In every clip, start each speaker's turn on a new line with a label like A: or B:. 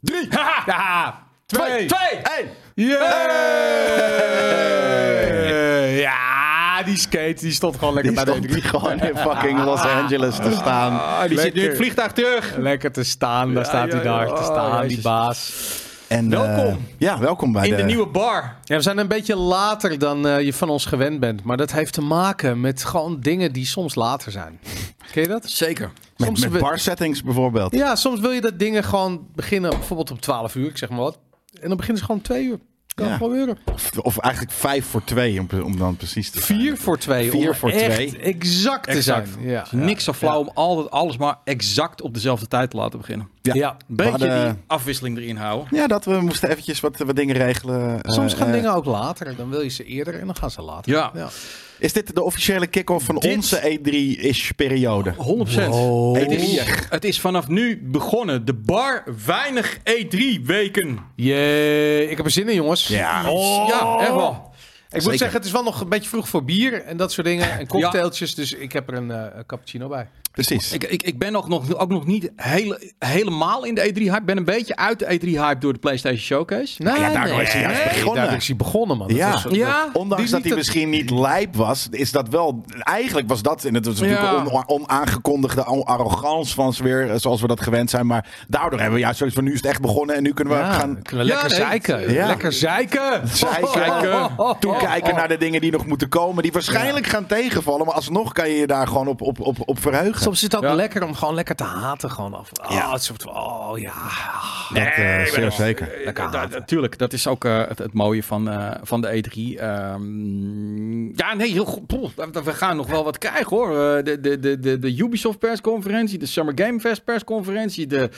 A: Drie.
B: Ja, twee,
A: Twee. Eén.
B: Yay! Ja, die skate die stond gewoon lekker
A: Die
B: bij de
A: stond
B: E3.
A: gewoon in fucking Los Angeles te staan.
B: Ah, die zit nu in het
A: Lekker.
B: vliegtuig terug. Lekker te staan, daar staat hij
A: ja,
B: daar
A: ja.
B: te staan,
A: Oh,
B: die
A: jezus.
B: baas.
A: En, eh,
B: Welkom.
A: ja, welkom bij
B: In de
A: de
B: nieuwe bar.
C: Ja, we zijn een beetje later dan eh, je van ons gewend bent. Maar dat heeft te maken met gewoon dingen die soms later zijn. Ken je dat?
D: Zeker.
A: Met,
C: Soms
A: met
C: we-
A: bar settings bijvoorbeeld.
C: Ja, soms wil je dat dingen gewoon beginnen bijvoorbeeld om 12 uur, ik zeg maar wat. En dan beginnen ze gewoon om 2 uur. Kan
A: Ja.
C: gebeuren.
A: Of, of eigenlijk vijf voor twee, om, om dan precies te zijn.
C: 4 voor 2.
A: Vier voor
C: echt
A: twee.
C: exact te
D: Exact.
C: zijn. Ja.
D: Dus niks zo flauw om altijd alles maar exact op dezelfde tijd te laten beginnen.
A: Ja.
C: Ja.
D: Een beetje
A: hadden-
D: die afwisseling erin houden.
A: Ja, dat we moesten eventjes wat, wat dingen regelen. Eh,
C: Soms gaan
A: eh,
C: dingen ook later. Dan wil je ze eerder en dan gaan ze later.
D: Ja.
A: Is dit de officiële kick-off van
D: Dit- Oh.
A: onze E3-ish periode?
D: 100%. Het, is,
A: Drieërs.
D: het is vanaf nu begonnen. De bar weinig E3 weken.
C: Jee, ik heb er zin in, jongens.
A: Ja.
D: Ja, echt wel.
C: Ik
A: Zeker.
C: moet zeggen, het is wel nog een beetje vroeg voor bier en dat soort dingen. En cocktailtjes, dus ik heb er een eh, cappuccino bij.
A: Precies.
D: Ik, ik, ik ben nog, nog, ook nog niet hele, helemaal in de E3-hype. Ik ben een beetje uit de E3-hype door de PlayStation Showcase.
C: Nee,
A: ja, daardoor
C: nee,
A: is hij juist
C: nee,
A: begonnen.
C: daardoor is hij begonnen, man. Dat
A: Ja.
C: was zo-
D: Ja,
A: Ondanks
C: die liet
A: dat hij
C: het-
A: misschien niet lijp was, is dat wel. Eigenlijk was dat. En het was natuurlijk
D: Ja.
A: on- onaangekondigde on- arrogance van sfeer, eh, zoals we dat gewend zijn. Maar daardoor hebben we juist zoiets van nu is het echt begonnen en nu kunnen we
C: Ja,
A: gaan
C: Ah, kunnen we
D: Ja,
C: lekker
D: nee,
C: zeiken.
A: ja.
C: Lekker zeiken.
A: Zeiken. toekijken naar de dingen die nog moeten komen. Die waarschijnlijk gaan tegenvallen, maar alsnog kan je je daar gewoon op, op, op, op verheugen.
C: Soms is het ook
D: Ja.
C: lekker om gewoon lekker te haten. Gewoon af. Oh, ja. Het soort, van, oh ja.
A: dat, eh, zeer zeker.
C: eh,
D: Ja, da- Natuurlijk, dat is ook eh, het, het mooie van, eh, van de E3. Ehm, ja, nee, heel goed. Poeh, we we gaan nog wel wat krijgen hoor. Eh, De, de, de, de, de Ubisoft persconferentie, de Summer Game Fest persconferentie, de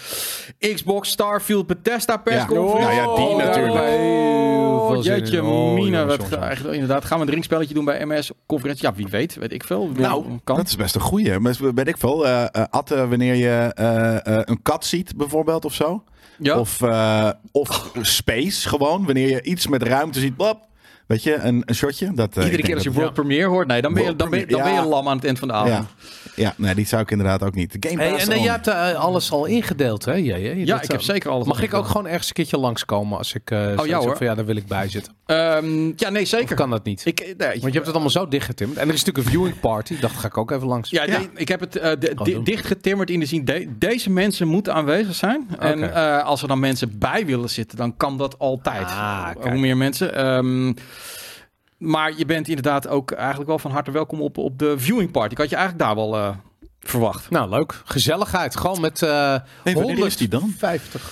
D: Xbox Starfield Bethesda persconferentie. Oh,
A: Ja. Nou ja, die natuurlijk.
C: Heel veel zin in.
D: Jeetje,
C: Oh,
D: Mina,
C: jongens,
D: wat
C: jongens,
D: ga- inderdaad. Gaan we een drinkspelletje doen bij MS-conferentie? Ja, wie weet, weet ik veel.
A: Nou,
D: kan.
A: dat is best een goeie. Maar weet ik veel. eh, eh, atten wanneer je eh, eh, een kat ziet, bijvoorbeeld, of zo.
D: ja.
A: Of, eh, of space gewoon. Wanneer je iets met ruimte ziet. Blap, weet je, een, een shotje. Dat, eh,
D: Iedere
A: ik
D: keer als je
A: denk
D: World Premiere hoort, nee, dan ben je,
A: World
D: dan ben je, dan
A: Premiere,
D: ben je
A: ja.
D: lam aan het eind van de
A: dat-
D: avond.
A: ja. ja, nee, die zou ik inderdaad ook niet. Game
C: Hey,
A: Pass
C: en eh,
A: on.
C: jij hebt eh, alles al ingedeeld, hè? Ja, ja,
D: Ja, ik heb zeker alles
C: Mag ik ook
D: opgekomen.
C: gewoon ergens een keertje langskomen als ik eh zoiets
D: ja,
C: heb
D: hoor.
C: van ja, daar wil ik bij zitten?
D: Ehm, ja, nee, zeker.
C: Of kan dat niet?
D: Ik, eh, nee,
C: Want je hebt het allemaal zo dichtgetimmerd. En er is natuurlijk een viewing party. Dacht, ga ik ook even langs.
D: Ja,
A: Ja.
D: nee, ik heb het eh, de-
C: Oh,
D: di-
C: doen.
D: dichtgetimmerd in de zin, de- deze mensen moeten aanwezig zijn. En eh, als er dan mensen bij willen zitten, dan kan dat altijd.
C: Ah, kijk.
D: Hoe meer mensen. ehm, maar je bent inderdaad ook eigenlijk wel van harte welkom op, op de viewing party. Ik had je eigenlijk daar wel eh, verwacht.
C: Nou, leuk. Gezelligheid. Gewoon met eh
A: Nee, wanneer is
C: 150
A: die dan?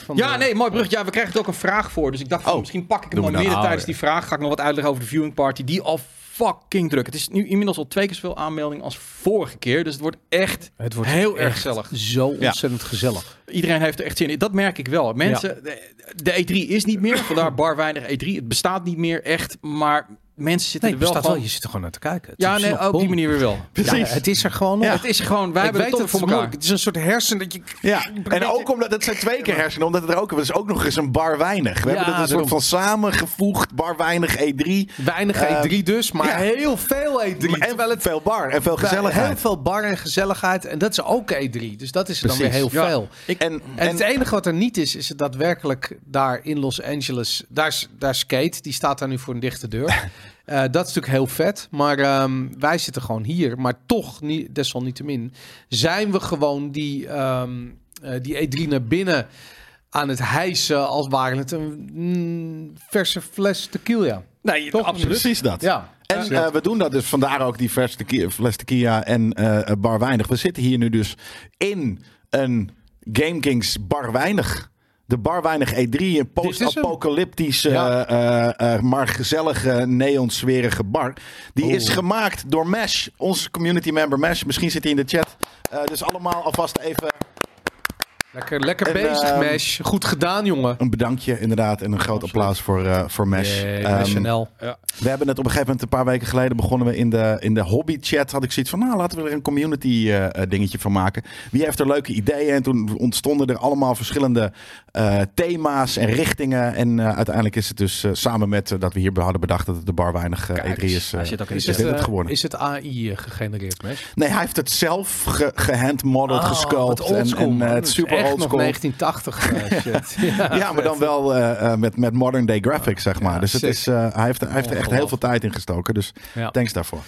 C: van
D: Ja,
C: de-
D: nee, mooi brug. Ja, we krijgen er ook een vraag voor. Dus ik dacht, van,
A: Oh,
D: misschien pak ik hem
A: doen we
D: maar
A: dan.
D: midden
C: nou.
A: Ah,
D: tijdens
A: ja.
D: die vraag. Ga ik nog wat uitleggen over de viewing party. Die al fucking druk. Het is nu inmiddels al twee keer zoveel aanmelding als vorige keer. Dus het wordt echt
C: Het wordt
D: heel erg
C: echt
D: gezellig.
C: Zo ontzettend gezellig.
D: Iedereen heeft er echt zin in. Dat merk ik wel. Mensen, de, de E3 is niet meer. Vandaar bar weinig E3. Het bestaat niet meer echt. Maar mensen zitten
C: Nee,
D: er wel
C: bestaat wel.
D: gewoon...
C: Je zit er gewoon naar te kijken. Het
D: ja,
C: is
D: nee,
C: nog
D: op die
C: bom.
D: manier weer wel.
C: Ja, het is er gewoon. nog.
D: Het is gewoon... Wij
C: Ik
D: hebben het toch
C: weet dat
D: weer voor
C: het
D: elkaar.
C: moeilijk- Het is een soort hersen dat je.
A: Ja, en ook omdat het zijn twee keer hersenen, omdat het er ook er is ook nog eens een bar weinig. We
C: Ja,
A: hebben het een soort
C: daarom.
A: van samengevoegd bar weinig E E3.
C: Weinig
D: Ehm,
A: Eh,
C: E3 dus, maar
A: ja.
C: heel veel E3.
A: En
C: Terwijl het
A: veel bar en veel
C: Heel
A: gezelligheid.
C: veel bar en gezelligheid. En dat is ook E3. Dus dat is er dan weer
A: Precies.
C: heel
D: Ja.
C: veel.
A: En,
C: En,
A: en,
C: het enige wat er niet is, is het daadwerkelijk daar in Los Angeles. Daar, is- daar is Kate, die staat daar nu voor een dichte deur. Eh, dat is natuurlijk heel vet. Maar ehm, wij zitten gewoon hier. Maar toch, niet, desalniettemin, zijn we gewoon die, ehm, eh, die E3 naar binnen aan het hijsen. Als waren het een mm, verse fles tequila.
D: Nee,
C: Toch?
D: absoluut.
A: precies dat.
C: Ja.
A: En eh, we doen dat dus vandaar ook die verse tequila, fles tequila en eh, bar weinig. We zitten hier nu dus in een Game Kings bar weinig. De bar weinig E3, een post-apocalyptische,
C: Ja.
A: eh, eh, maar gezellige, neonswerige bar. Die is gemaakt door Mesh, onze community member Mesh. Misschien zit hij in de chat. Eh, dus allemaal alvast even
C: Lekker, lekker
A: En,
C: bezig,
A: ehm,
C: Mesh. Goed gedaan, jongen.
A: een bedankje inderdaad. En een groot applaus voor, eh, voor Mesh.
C: Yay,
A: Ehm,
C: SNL.
A: We hebben het op een gegeven moment, een paar weken geleden begonnen we in de, in de hobbychat. Had ik zoiets van, nou laten we er een community eh, eh, dingetje van maken. Wie heeft er leuke ideeën? En toen ontstonden er allemaal verschillende eh, thema's en richtingen. En eh, uiteindelijk is het dus eh, samen met eh, dat we hier hadden bedacht dat het de bar weinig eh,
D: Kijk
A: E3
D: eens,
A: is. eh,
D: hij zit ook in
A: is
D: de
A: dit
D: chat.
A: het eh,
C: eh,
A: geworden?
C: is het AI gegenereerd, Mesh?
A: Nee, hij heeft het zelf ge gehandmodeld,
C: Oh,
A: gesculpt.
C: wat oldschool,
A: en en eh,
C: man.
A: het is super
C: Echt echt nog
A: oldschool.
C: 1980 eh, shit. Ja.
A: Ja, maar dan wel eh, eh, met, met modern day graphics, zeg maar. dus het
C: sick.
A: is, eh, hij heeft, hij heeft er echt heel veel tijd in gestoken. Dus
C: Ja.
A: thanks daarvoor.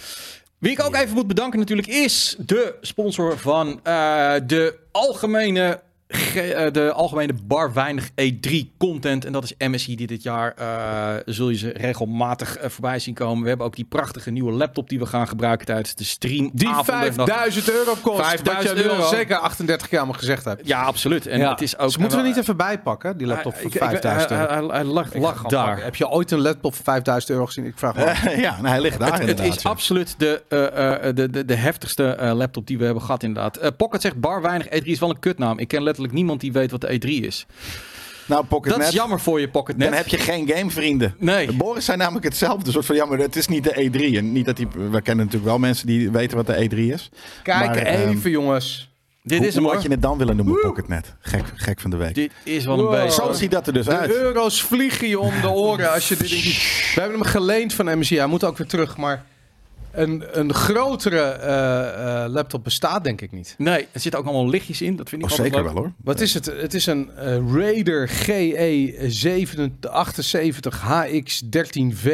D: Wie ik ook even moet bedanken natuurlijk is de sponsor van eh, de algemene... ge- eh, De algemene bar weinig E3 content. En dat is MSI die dit jaar eh, zul je ze regelmatig eh, voorbij zien komen. We hebben ook die prachtige nieuwe laptop die we gaan gebruiken tijdens de stream.
E: Die
D: avonden.
E: 5000 euro kost.
D: 5000
E: wat jij nu al
D: euro.
E: zegt.
C: Zeker 38 jaar maar gezegd heb.
D: Ja, absoluut. En
C: Ja.
D: het is ook.
C: dus moeten we
D: en-
C: niet even bijpakken, die laptop
D: Ah,
C: voor
D: ik- ik-
C: 5000 euro?
D: Hij, hij, hij lag,
C: eh, Ik ga
D: lag
C: hem
D: daar.
C: pakken. Heb je ooit een laptop voor 5000 euro gezien? Ik vraag wel.
A: ja, nou, hij ligt daar
D: Het
A: inderdaad.
D: is
A: ja.
D: absoluut de, eh, eh, de, de, de heftigste eh, laptop die we hebben gehad, inderdaad. Eh, Pocket zegt bar weinig. E3 is wel een kutnaam. Ik ken letterlijk niemand die weet wat de E3 is.
A: nou, Pocket
D: Dat is
A: Net,
D: jammer voor je Pocket
A: dan
D: Net.
A: heb je geen gamevrienden.
D: Nee.
A: Boris zei namelijk hetzelfde. Een soort van, ja, maar het is niet de E3. En niet dat die, we kennen natuurlijk wel mensen die weten wat de E3 is.
C: Kijk
A: Maar, ehm,
C: even, jongens.
D: Dit
A: Hoe-
D: is hem
A: hoe
D: hoor.
A: had je het dan willen noemen, PocketNet? Gek, gek van de week.
D: Dit is wel een
C: Wow.
D: beest.
A: Zo
D: hoor.
A: ziet dat er dus
C: De
A: uit.
C: euro's vliegen je om de oren als je dit ding ziet. We hebben hem geleend van MSI. Hij moet ook weer terug, maar een, een grotere eh, eh, laptop bestaat denk ik niet.
D: Nee, er zitten ook allemaal lichtjes in. Dat vind ik
A: Oh,
D: altijd
A: zeker
D: leuk.
A: wel hoor.
C: Wat is het? Het is een eh, Raider E GE 78 HX13V.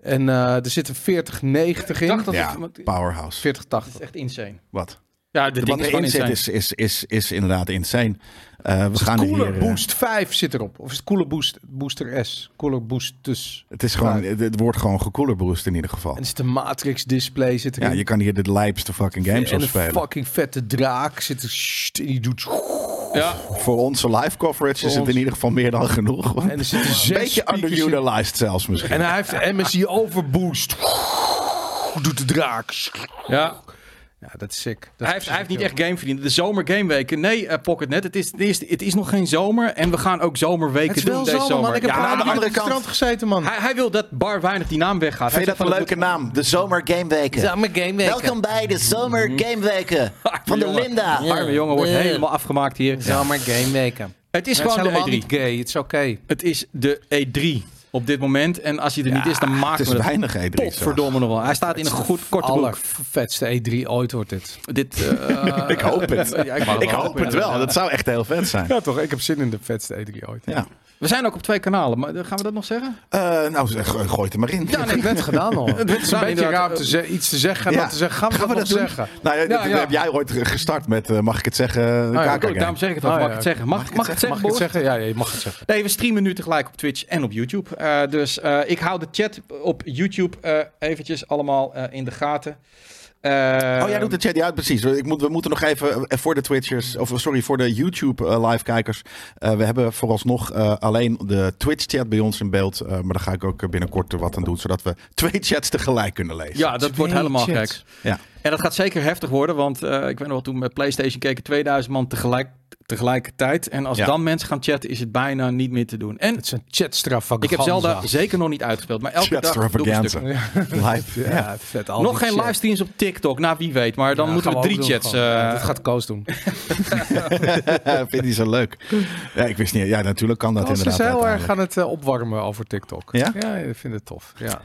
C: En eh, er zitten 4090 in.
D: Ik dacht dat
A: Ja,
D: het-
A: powerhouse.
D: Dat
C: 4080.
D: is echt insane.
A: Wat?
D: Ja, dit
A: Wat
D: ding is gewoon
A: erin zit
D: insane.
A: is, is, is, is inderdaad insane. Eh, we gaan er hier,
C: Cooler
A: eh,
C: Boost 5 zit erop. Of is het Cooler Boost Booster S? Cooler Boost dus.
A: Het, is gewoon, het, het wordt gewoon gecooler boost in ieder geval.
C: En er zit een Matrix display zit
A: Ja,
C: erin.
A: je kan hier de lijpste fucking games
C: en
A: op
C: een
A: spelen.
C: fucking vette draak zit er. sst, en die doet.
D: Ja,
A: Voor onze live coverage is het
C: ons.
A: in ieder geval meer dan genoeg. want
C: En er zitten
A: een
C: zes
A: beetje
C: speakers in.
A: underutilized zelfs misschien.
C: En hij heeft MSI Overboost. Doet de draak.
D: ja.
C: Ja, dat is sick. Dat
D: Hij
C: is
D: heeft, hij heeft
C: sick,
D: niet echt game verdiend. De zomer gameweken. Nee, eh Pocket Net. Het is, het, is, het is nog geen zomer. En we gaan ook zomerweken
C: Het is
D: doen
C: wel
D: deze
C: zomer, man. Ik heb
D: Ja, nou,
C: ja,
A: aan de
C: aan
A: andere
C: andere kant
A: kant.
C: strand gezeten, man.
D: hij, hij wil dat bar weinig die naam weggaat.
A: Vind je dat een leuke naam? De Zomer Gameweken.
C: mijn game
A: Welkom bij de Zomer Gameweken van de Linda.
D: Arme Mhm. jongen wordt
C: Ja.
D: helemaal afgemaakt hier.
C: Zomer game weken.
D: Het is
C: Het is E
D: gewoon
C: helemaal
D: de
C: niet
D: E3.
C: gay. Het is oké.
D: Het is de E3 op dit moment. En als hij er niet is, dan
A: Het
D: maken
A: is
D: we het
A: weinig E3. zeg.
D: potverdomme nog wel. Hij staat in een goed korte boek.
C: Allervetste E3 ooit wordt dit.
D: Dit, eh,
A: Ik hoop het.
D: Ja, ik mag
A: Ik hoop het wel. Dat zou echt heel vet zijn.
C: Ja toch, ik heb zin in de vetste E3 ooit.
A: Ja.
D: We zijn ook op twee kanalen. Maar eh, gaan we dat nog zeggen?
A: Eh, nou, zeg, gooi gooi het er maar in.
C: Ja, nee, net gedaan al. Het is een
D: gedaan,
C: beetje
D: inderdaad.
C: raar om te ze- iets te zeggen en
A: Ja.
C: dan te zeggen. Gaan we, dat, nog
A: doen?
C: zeggen?
A: Nou, ja,
C: Ja,
A: dat, dat
C: ja. Nou
A: heb jij ooit gestart met, eh, mag ik het zeggen,
C: ja,
D: Ook
A: KK
D: Ah, daarom
A: Game.
D: zeg ik het al.
C: Oh,
D: mag
C: ja,
D: ik het
C: ja.
D: zeggen? Mag, mag, ik het zeggen,
C: Mag ik het
D: Boris?
C: zeggen? Ja, ja, je mag het zeggen.
D: Nee, we streamen nu tegelijk op Twitch en op YouTube. Eh, dus eh, ik hou de chat op YouTube eh, eventjes allemaal eh, in de gaten. Eh,
A: Oh, jij doet de chat niet uit, precies. Ik moet, we moeten nog even eh, voor de Twitchers, of sorry, voor de YouTube eh, live-kijkers. eh, we hebben vooralsnog eh, alleen de Twitch-chat bij ons in beeld. eh, maar daar ga ik ook eh, binnenkort er wat aan doen, zodat we twee chats tegelijk kunnen lezen.
D: Ja, dat wordt helemaal
C: Twee
D: gek.
C: chats.
A: Ja.
D: En dat gaat zeker heftig worden, want eh, ik weet nog wel, toen met PlayStation keken 2000 man tegelijk, tegelijkertijd. En als
A: Ja.
D: dan mensen gaan chatten, is het bijna niet meer te doen. En
C: Het is een chatstrafvaganza.
D: ik heb Zelda zeker nog niet uitgespeeld, maar elke dag doe ik een
A: Extravaganza.
D: stuk.
A: Live. Ja.
C: Ja, vet. al
D: Nog
C: die
D: geen
C: chat.
D: livestreams op TikTok, nou wie weet, maar dan
C: Ja,
D: moeten we
C: gaan
D: drie
C: ook doen
D: chats...
C: gewoon.
D: eh,
C: Ja, dat gaat Koos doen.
A: eh, Vind je zo leuk? Ja, ik wist niet. Ja, natuurlijk kan dat
C: Koos is dus
A: inderdaad.
C: heel erg
A: uiteindelijk.
C: gaan het eh, opwarmen over TikTok.
A: Ja?
C: ik vind het tof. Ja.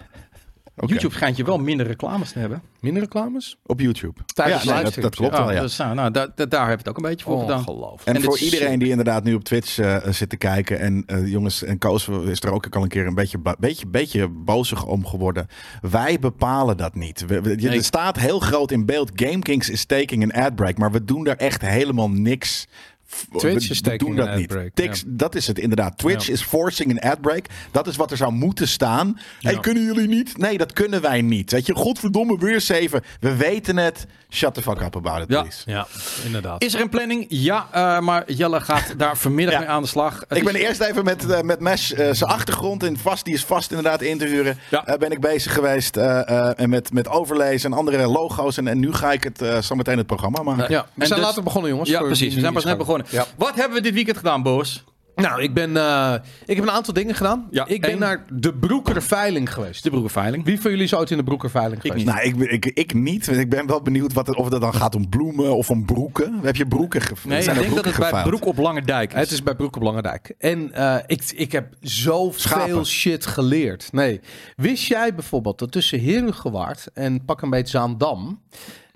A: Oké.
D: YouTube schijnt je wel minder reclames te hebben.
C: Minder reclames?
A: Op YouTube.
C: Tijdens
A: ja, nee, dat,
C: livestreams,
A: dat klopt
C: ja.
A: wel, ja. Oh,
D: Dus nou, nou, da- da- daar heb ik het ook een beetje voor gedaan.
C: Ongelooflijk.
A: En,
D: En
A: voor
D: dit is-
A: iedereen die inderdaad nu op Twitch eh, zit te kijken. En eh, jongens, en Koos is er ook al een keer een beetje, ba- beetje, beetje bozig om geworden. Wij bepalen dat niet. We, we- je-
D: Nee.
A: Er staat heel groot in beeld. GameKings is taking een ad break. Maar we doen daar echt helemaal niks. v-
C: Twitch
A: we
C: is
A: doen
C: taking
A: dat
C: an ad
A: niet.
C: break,
A: Tix-
C: ja.
A: Dat is het inderdaad. Twitch is forcing een ad break. Dat is wat er zou moeten staan. Hey, kunnen jullie niet? Nee, dat kunnen wij niet. Weet je, godverdomme, weer zeven. We weten het. Shut the fuck up about it,
D: Ja.
A: please.
C: Ja, inderdaad.
D: Is er een planning? Ja, eh, maar Jelle gaat daar vanmiddag
A: Ja.
D: mee aan de slag. Het
A: Ik
D: is-
A: ben eerst even met, eh, met Mesh eh, zijn achtergrond in vast. Die is vast inderdaad in te huren.
D: Ja.
A: Eh, ben ik bezig geweest eh, eh, en met, met overlezen en andere logo's. En, en nu ga ik het eh, zometeen het programma maken.
C: Ja, we
D: En
C: zijn
D: dus-
C: later begonnen, jongens.
D: Ja,
C: voor
D: precies.
C: wie
D: We zijn
C: nu
D: pas net
C: inschakelen.
D: begonnen. Wat hebben we dit weekend gedaan, Boris?
C: Ja. Nou, ik, ben, eh, ik heb een aantal dingen gedaan.
D: Ja,
C: ik ben
D: één.
C: naar de Broekerveiling geweest.
D: De broekenveiling.
C: Wie van jullie is ooit in de Broekerveiling geweest?
A: Nou, ik, ik, ik niet. want Ik ben wel benieuwd wat, het- of dat dan gaat om bloemen of om broeken. Heb je broeken ge-
D: Nee,
A: zijn
D: ik
A: er
D: denk dat het
A: broeken
D: bij
A: geveild?
D: Broek op Lange Dijk is.
C: Het is bij Broek op Langendijk. En eh, ik, ik heb zoveel
A: Schapen.
C: shit geleerd. Nee. Wist jij bijvoorbeeld dat tussen Herugewaard en pak een beetje Zaandam...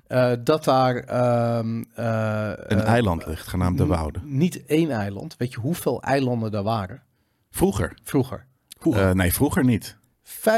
F: eh, dat daar ehm, eh,
A: Een
F: eh,
A: eiland ligt, genaamd de
F: n-
A: Woude.
F: Niet één eiland. Weet je hoeveel eilanden daar waren
A: Vroeger.
F: vroeger?
A: Eh, nee, vroeger niet.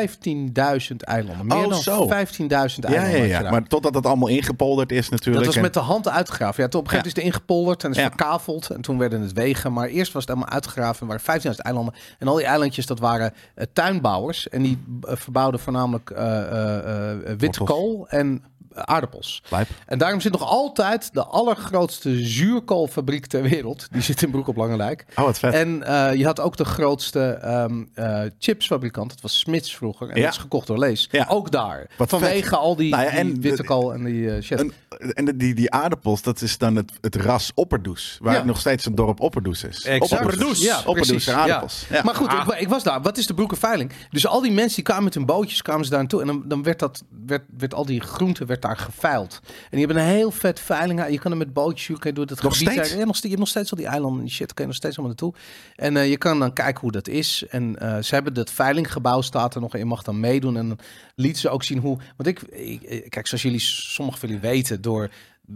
F: 15.000 eilanden. Meer
A: Oh,
F: dan 15.000
A: zo.
F: eilanden.
A: Ja, ja,
F: had je
A: ja.
F: daar.
A: Maar totdat dat allemaal ingepolderd is natuurlijk.
F: dat was
A: En-
F: met de hand uitgegraven. Ja, toen op een gegeven moment is het ingepolderd en is
A: Ja.
F: verkaveld. En toen werden het wegen. Maar eerst was het allemaal uitgegraven. En waren 15.000 eilanden. En al die eilandjes, dat waren eh, tuinbouwers. En die eh, verbouwden voornamelijk eh, eh, eh, witte
A: Wortels.
F: kool en aardappels.
A: Lijp.
F: En daarom zit nog altijd de allergrootste zuurkoolfabriek ter wereld. Die zit in Broek op Langendijk.
A: Oh, wat vet.
F: En eh, je had ook de grootste ehm, eh, chipsfabrikant. Dat was Smits vroeger. En
A: Ja.
F: dat is gekocht door Lees.
A: Ja.
F: Ook daar.
A: Wat
F: Vanwege
A: vet.
F: al die,
A: Nou ja,
F: die
A: en
F: witte
A: de-
F: kool en die eh shit.
A: En, en de- die, die aardappels, dat is dan het, het ras Opperdoes. Waar
F: Ja.
A: het nog steeds een dorp Opperdoes is.
C: Exact.
A: Opperdoes.
F: Ja,
A: Opperdoes,
F: precies.
A: en aardappels. Ja.
F: Maar goed, ik, ik was daar. Wat is de broekenveiling? Dus al die mensen die kwamen met hun bootjes, kwamen ze daar naartoe. En dan, dan werd, dat, werd, werd al die groente werd daar geveild. En die hebben een heel vet veiling. Je kan er met bootjes, je kan door dat
A: Nog
F: gebied.
A: steeds?
F: heen. Ja, nog steeds? Je hebt nog steeds al die eilanden en die shit. Kan je nog steeds allemaal naartoe. En eh, je kan dan kijken hoe dat is. En eh, ze hebben dat veilinggebouw staat er nog in. Je mag dan meedoen. En dan liet ze ook zien hoe... Want ik, ik- ik- kijk, zoals jullie, sommigen van jullie weten, door een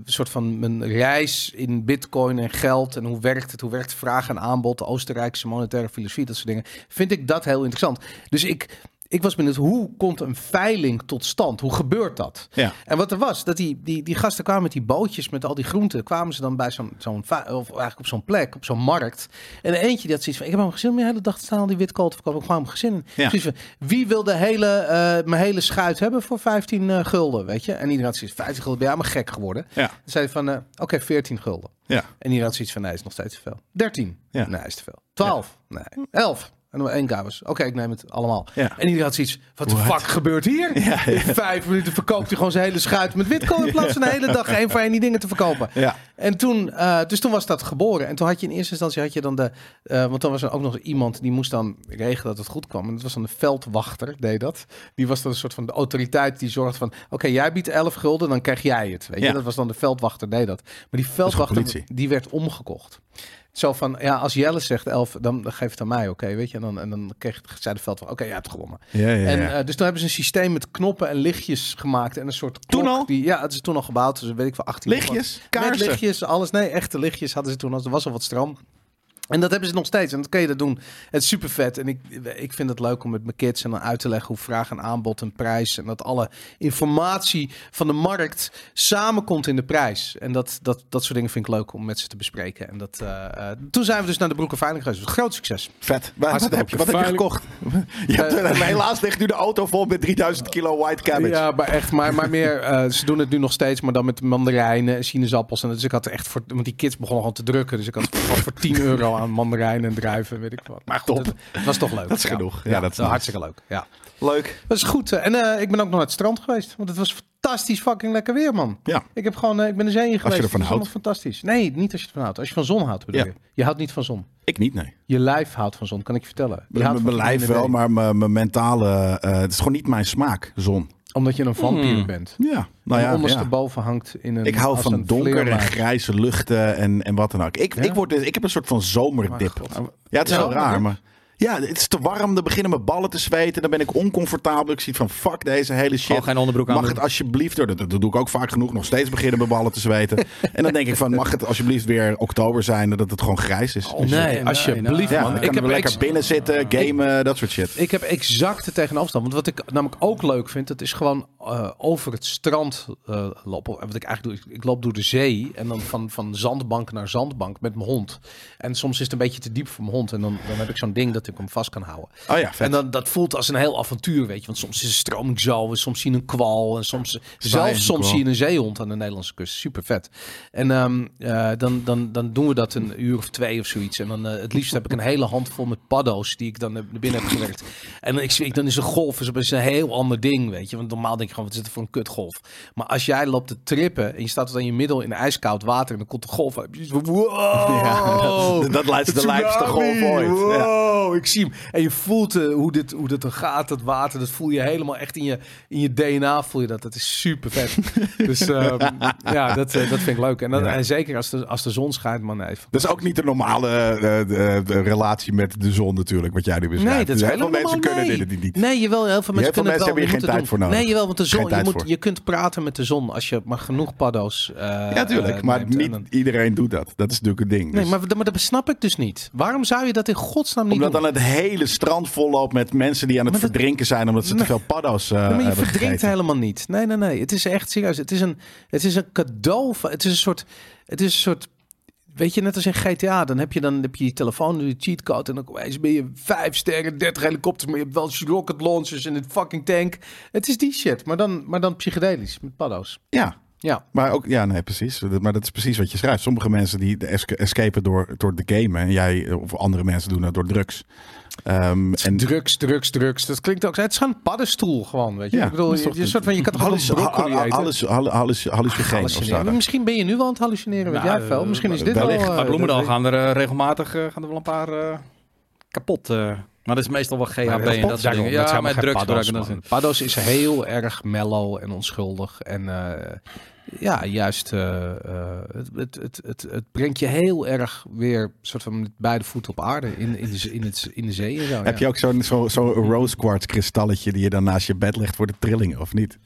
F: soort van mijn reis in bitcoin en geld en hoe werkt het, hoe werkt vraag en aanbod, de Oostenrijkse monetaire filosofie, dat soort dingen, vind ik dat heel interessant. Dus ik, ik was benieuwd, hoe komt een veiling tot stand? Hoe gebeurt dat?
A: Ja.
F: En wat er was, dat die, die, die gasten kwamen met die bootjes met al die groenten. Kwamen ze dan bij zo'n, zo'n va- of eigenlijk op zo'n plek, op zo'n markt. En eentje die had zoiets van, ik heb hem gezin om de hele dag te staan al die witkool te verkopen. Ik kwam hem gezin in.
A: Ja.
F: Precies van, wie wil de hele, eh, mijn hele schuit hebben voor 15 eh, gulden, weet je? En iedereen had zoiets 15 gulden, ben jij maar gek geworden.
A: Ja.
F: Dan zei hij van, eh, oké, 14 gulden.
A: Ja.
F: En iedereen had zoiets van, nee, is nog steeds te veel. 13,
A: Ja.
F: nee, is te veel. 12, nee, 11. En dan één guy was, oké, ik neem het allemaal.
A: Ja.
F: En iedereen had zoiets, wat de
A: What?
F: fuck gebeurt hier?
A: Ja, ja.
F: In vijf minuten verkoopt hij gewoon zijn hele schuit met witkool... in plaats van de hele dag één voor één die dingen te verkopen.
A: Ja.
F: En toen, eh, dus toen was dat geboren. En toen had je in eerste instantie had je dan de. eh, want dan was er ook nog iemand die moest dan regelen dat het goed kwam. En dat was dan de veldwachter, deed dat. Die was dan een soort van de autoriteit die zorgt van. Oké, jij biedt 11 gulden, dan krijg jij het. Weet
A: Ja.
F: je? Dat was dan de veldwachter, deed dat. Maar die
A: politie.
F: veldwachter die werd omgekocht. Zo van, ja, als Jelle zegt 11, dan geef het aan mij, oké, weet je. En dan, en dan kreeg, zei de veldwachter, oké, jij hebt gewonnen.
A: Ja, ja,
F: En,
A: ja.
F: eh, dus toen hebben ze een systeem met knoppen en lichtjes gemaakt. En een soort
A: Toen
F: klok
A: al?
F: Die, ja, het is toen al gebouwd. Dus weet ik wel, 18 of wat.
A: Lichtjes,
F: Met
A: kaarsen.
F: lichtjes, alles. Nee, echte lichtjes hadden ze toen. al. Er was al wat stroom. En dat hebben ze nog steeds. En dat kun je dat doen. Het is super vet. En ik, ik vind het leuk om met mijn kids en dan uit te leggen hoe vraag en aanbod en prijs. En dat alle informatie van de markt samenkomt in de prijs. En dat, dat, dat soort dingen vind ik leuk om met ze te bespreken. En dat, eh, eh, toen zijn we dus naar de Broeken Veiling geweest. Dus groot succes.
A: Vet. Wat, wat,
C: Hartstikke
A: heb, je, wat heb je
C: veilig.
A: gekocht? Je hebt,
F: Eh,
A: eh, helaas ligt nu de auto vol met 3000 kilo white cabbage.
F: Ja, maar echt, maar, maar meer. eh, ze doen het nu nog steeds, maar dan met mandarijnen en sinaasappels. En dus ik had echt voor. Want die kids begonnen gewoon te drukken. Dus ik had voor, voor 10 euro aan mandarijnen en druiven, weet ik wat. Maar goed,
A: Top.
F: Het, het was toch leuk.
A: Dat is
F: Ja.
A: genoeg. Ja,
F: Ja,
A: dat is
F: dat is
A: nice.
F: hartstikke leuk. Ja.
A: Leuk.
F: Dat is goed. eh, En eh, ik ben ook nog naar het strand geweest. Want het was fantastisch fucking lekker weer, man.
A: Ja.
F: Ik heb gewoon, eh, ik ben de zee in geweest.
A: ervan
F: Het was
A: houdt.
F: allemaal fantastisch. Nee, niet als je ervan houdt. Als je van zon houdt, bedoel
A: Ja.
F: je. Je houdt niet van zon.
A: Ik niet, nee.
F: Je lijf houdt van zon, kan ik je vertellen. Je houdt
A: Mijn
F: van
A: mijn lijf
F: vitamine
A: wel, maar
F: D.
A: mijn mijn mentale... eh, het is gewoon niet mijn smaak, zon.
F: Omdat je een vampier bent.
A: Ja. Nou
F: Nou
A: ja, ja.
F: ondersteboven hangt in een.
A: Ik hou
F: als
A: van
F: een
A: donkere,
F: vleermuis.
A: grijze luchten en, en wat dan ook. Ik,
F: Ja?
A: ik, word, dus, ik heb een soort van zomerdip.
F: Maar God.
A: Ja, het is wel
F: Ja,
A: raar,
F: maar-
A: maar... Ja, het is te warm, dan beginnen mijn ballen te zweten. Dan ben ik oncomfortabel. Ik zie van, fuck deze hele shit.
D: Gewoon geen onderbroek aan
A: Mag het alsjeblieft, dat, dat doe ik ook vaak genoeg, nog steeds beginnen mijn ballen te zweten. en dan denk ik van, mag het alsjeblieft weer oktober zijn, dat het gewoon grijs is.
F: Oh, nee,
D: nee,
F: alsjeblieft,
D: nee.
A: ja,
F: man.
A: dan
F: Ik
A: kan ik
F: heb,
A: lekker
F: ex-
A: binnen zitten, gamen, dat soort shit.
F: ik heb exact de tegenoverstand. Want wat ik namelijk ook leuk vind, dat is gewoon eh, over het strand eh, lopen. En Wat ik eigenlijk doe, ik, ik loop door de zee en dan van, van zandbank naar zandbank met mijn hond. En soms is het een beetje te diep voor mijn hond. En dan, dan heb ik zo'n ding dat ik hem vast kan houden.
A: Oh ja, vet.
F: En dan, dat voelt als een heel avontuur, weet je. Want soms is een stroming zo, en soms zie je een kwal. En soms,
A: een
F: zelfs soms
A: kwal.
F: zie je een zeehond aan de Nederlandse kust. Super vet. En ehm, eh, dan, dan, dan doen we dat een uur of twee of zoiets. En dan eh, het liefst heb ik een hele handvol met paddo's die ik dan eh, naar binnen heb gewerkt. En dan, ik, zweer- dan is een golf is opeens een heel ander ding, weet je. Want normaal denk je gewoon, wat is het voor een kutgolf? Maar als jij loopt te trippen en je staat tot aan je middel in ijskoud water en dan komt de golf uit. Wow!
A: Ja, dat, dat lijkt de lijfste golf ooit. Ja.
C: Wow,
F: ik zie hem. En je voelt eh, hoe, dit, hoe dit er gaat, dat water. Dat voel je helemaal echt in je, in je DNA. Voel je dat. Dat is super vet. dus ehm, ja, dat, eh, dat vind ik leuk. En, dat,
A: Ja.
F: en zeker als de, als de zon schijnt, man. Nee,
A: Dat is ook niet de normale eh, de- de relatie met de zon natuurlijk, wat jij nu beschrijft.
F: Nee, dat is
A: dus heel veel
F: helemaal
A: mensen kunnen
F: nee.
A: dit niet.
F: Nee, jawel, heel veel mensen
A: veel mensen
F: kunnen het wel.
A: hebben hier geen
F: je moet het
A: tijd
F: doen.
A: voor nodig.
F: Nee, jawel, want de
A: Geen
F: zon, je,
A: tijd
F: moet,
A: voor.
F: je kunt praten met de zon als je maar genoeg paddo's eh,
A: ja, tuurlijk.
F: eh,
A: maar
F: neemt. En
A: niet
F: dan-
A: iedereen doet dat. Dat is natuurlijk een ding.
F: Nee,
A: Dus-
F: maar, dat- maar dat snap ik dus niet. Waarom zou je dat in godsnaam niet
A: omdat
F: doen?
A: dan het hele strand vol loopt met mensen die aan het
F: Maar dat-
A: verdrinken zijn omdat ze te
F: Nee.
A: veel paddo's eh
F: Nee, maar je
A: hebben
F: verdrinkt
A: gegeten.
F: helemaal niet. Nee, nee, nee. Het is echt serieus. Het is een, het is een cadeau. Van, het is een soort... Het is een soort Weet je, net als in GTA, dan heb je dan heb je, je telefoon, je cheatcode en dan opeens ben je vijf sterren, 30 helikopters, maar je hebt wel rocket launchers en een fucking tank. Het is die shit, maar dan, maar dan psychedelisch, met paddo's.
A: Ja,
F: Ja.
A: Maar ook, ja, nee, precies. Dat- Maar dat is precies wat je schrijft. Sommige mensen die de esca- escapen door, door de game. hè. En jij eh, of andere mensen doen dat door drugs. Ehm, en
F: drugs, drugs, drugs. Dat klinkt ook... Het is gewoon een paddenstoel gewoon, weet je.
A: Ja,
F: ik bedoel,
A: dat is
F: je,
A: toch-
F: je soort van, je kan toch
A: halluc-
F: gewoon een broccoli
A: ha- ha-
F: eten?
A: halluc- hallu- halluc- hallucinogeen of zo.
F: Hallucineren. Misschien ben je nu al aan het hallucineren, weet
D: Nou,
F: jij veel. Misschien is dit al...
A: wellicht.
F: eh,
D: Maar Bloemendaal
F: dat-
D: gaan er eh, regelmatig eh, gaan er wel een paar eh, kapot. eh. maar dat is meestal wel GHB
F: Maar
D: en dat soort dingen. Ja, met drugs gebruiken, dat is-
F: man. Paddo's is heel erg mellow en onschuldig. En eh, ja, juist, eh, eh, het, het, het, het, het brengt je heel erg weer soort van met beide voeten op aarde in, in, de, z- in, het, in de zee en zo.
A: Heb je ook zo'n zo, zo rose quartz kristalletje die je dan naast je bed legt voor de trillingen, of niet?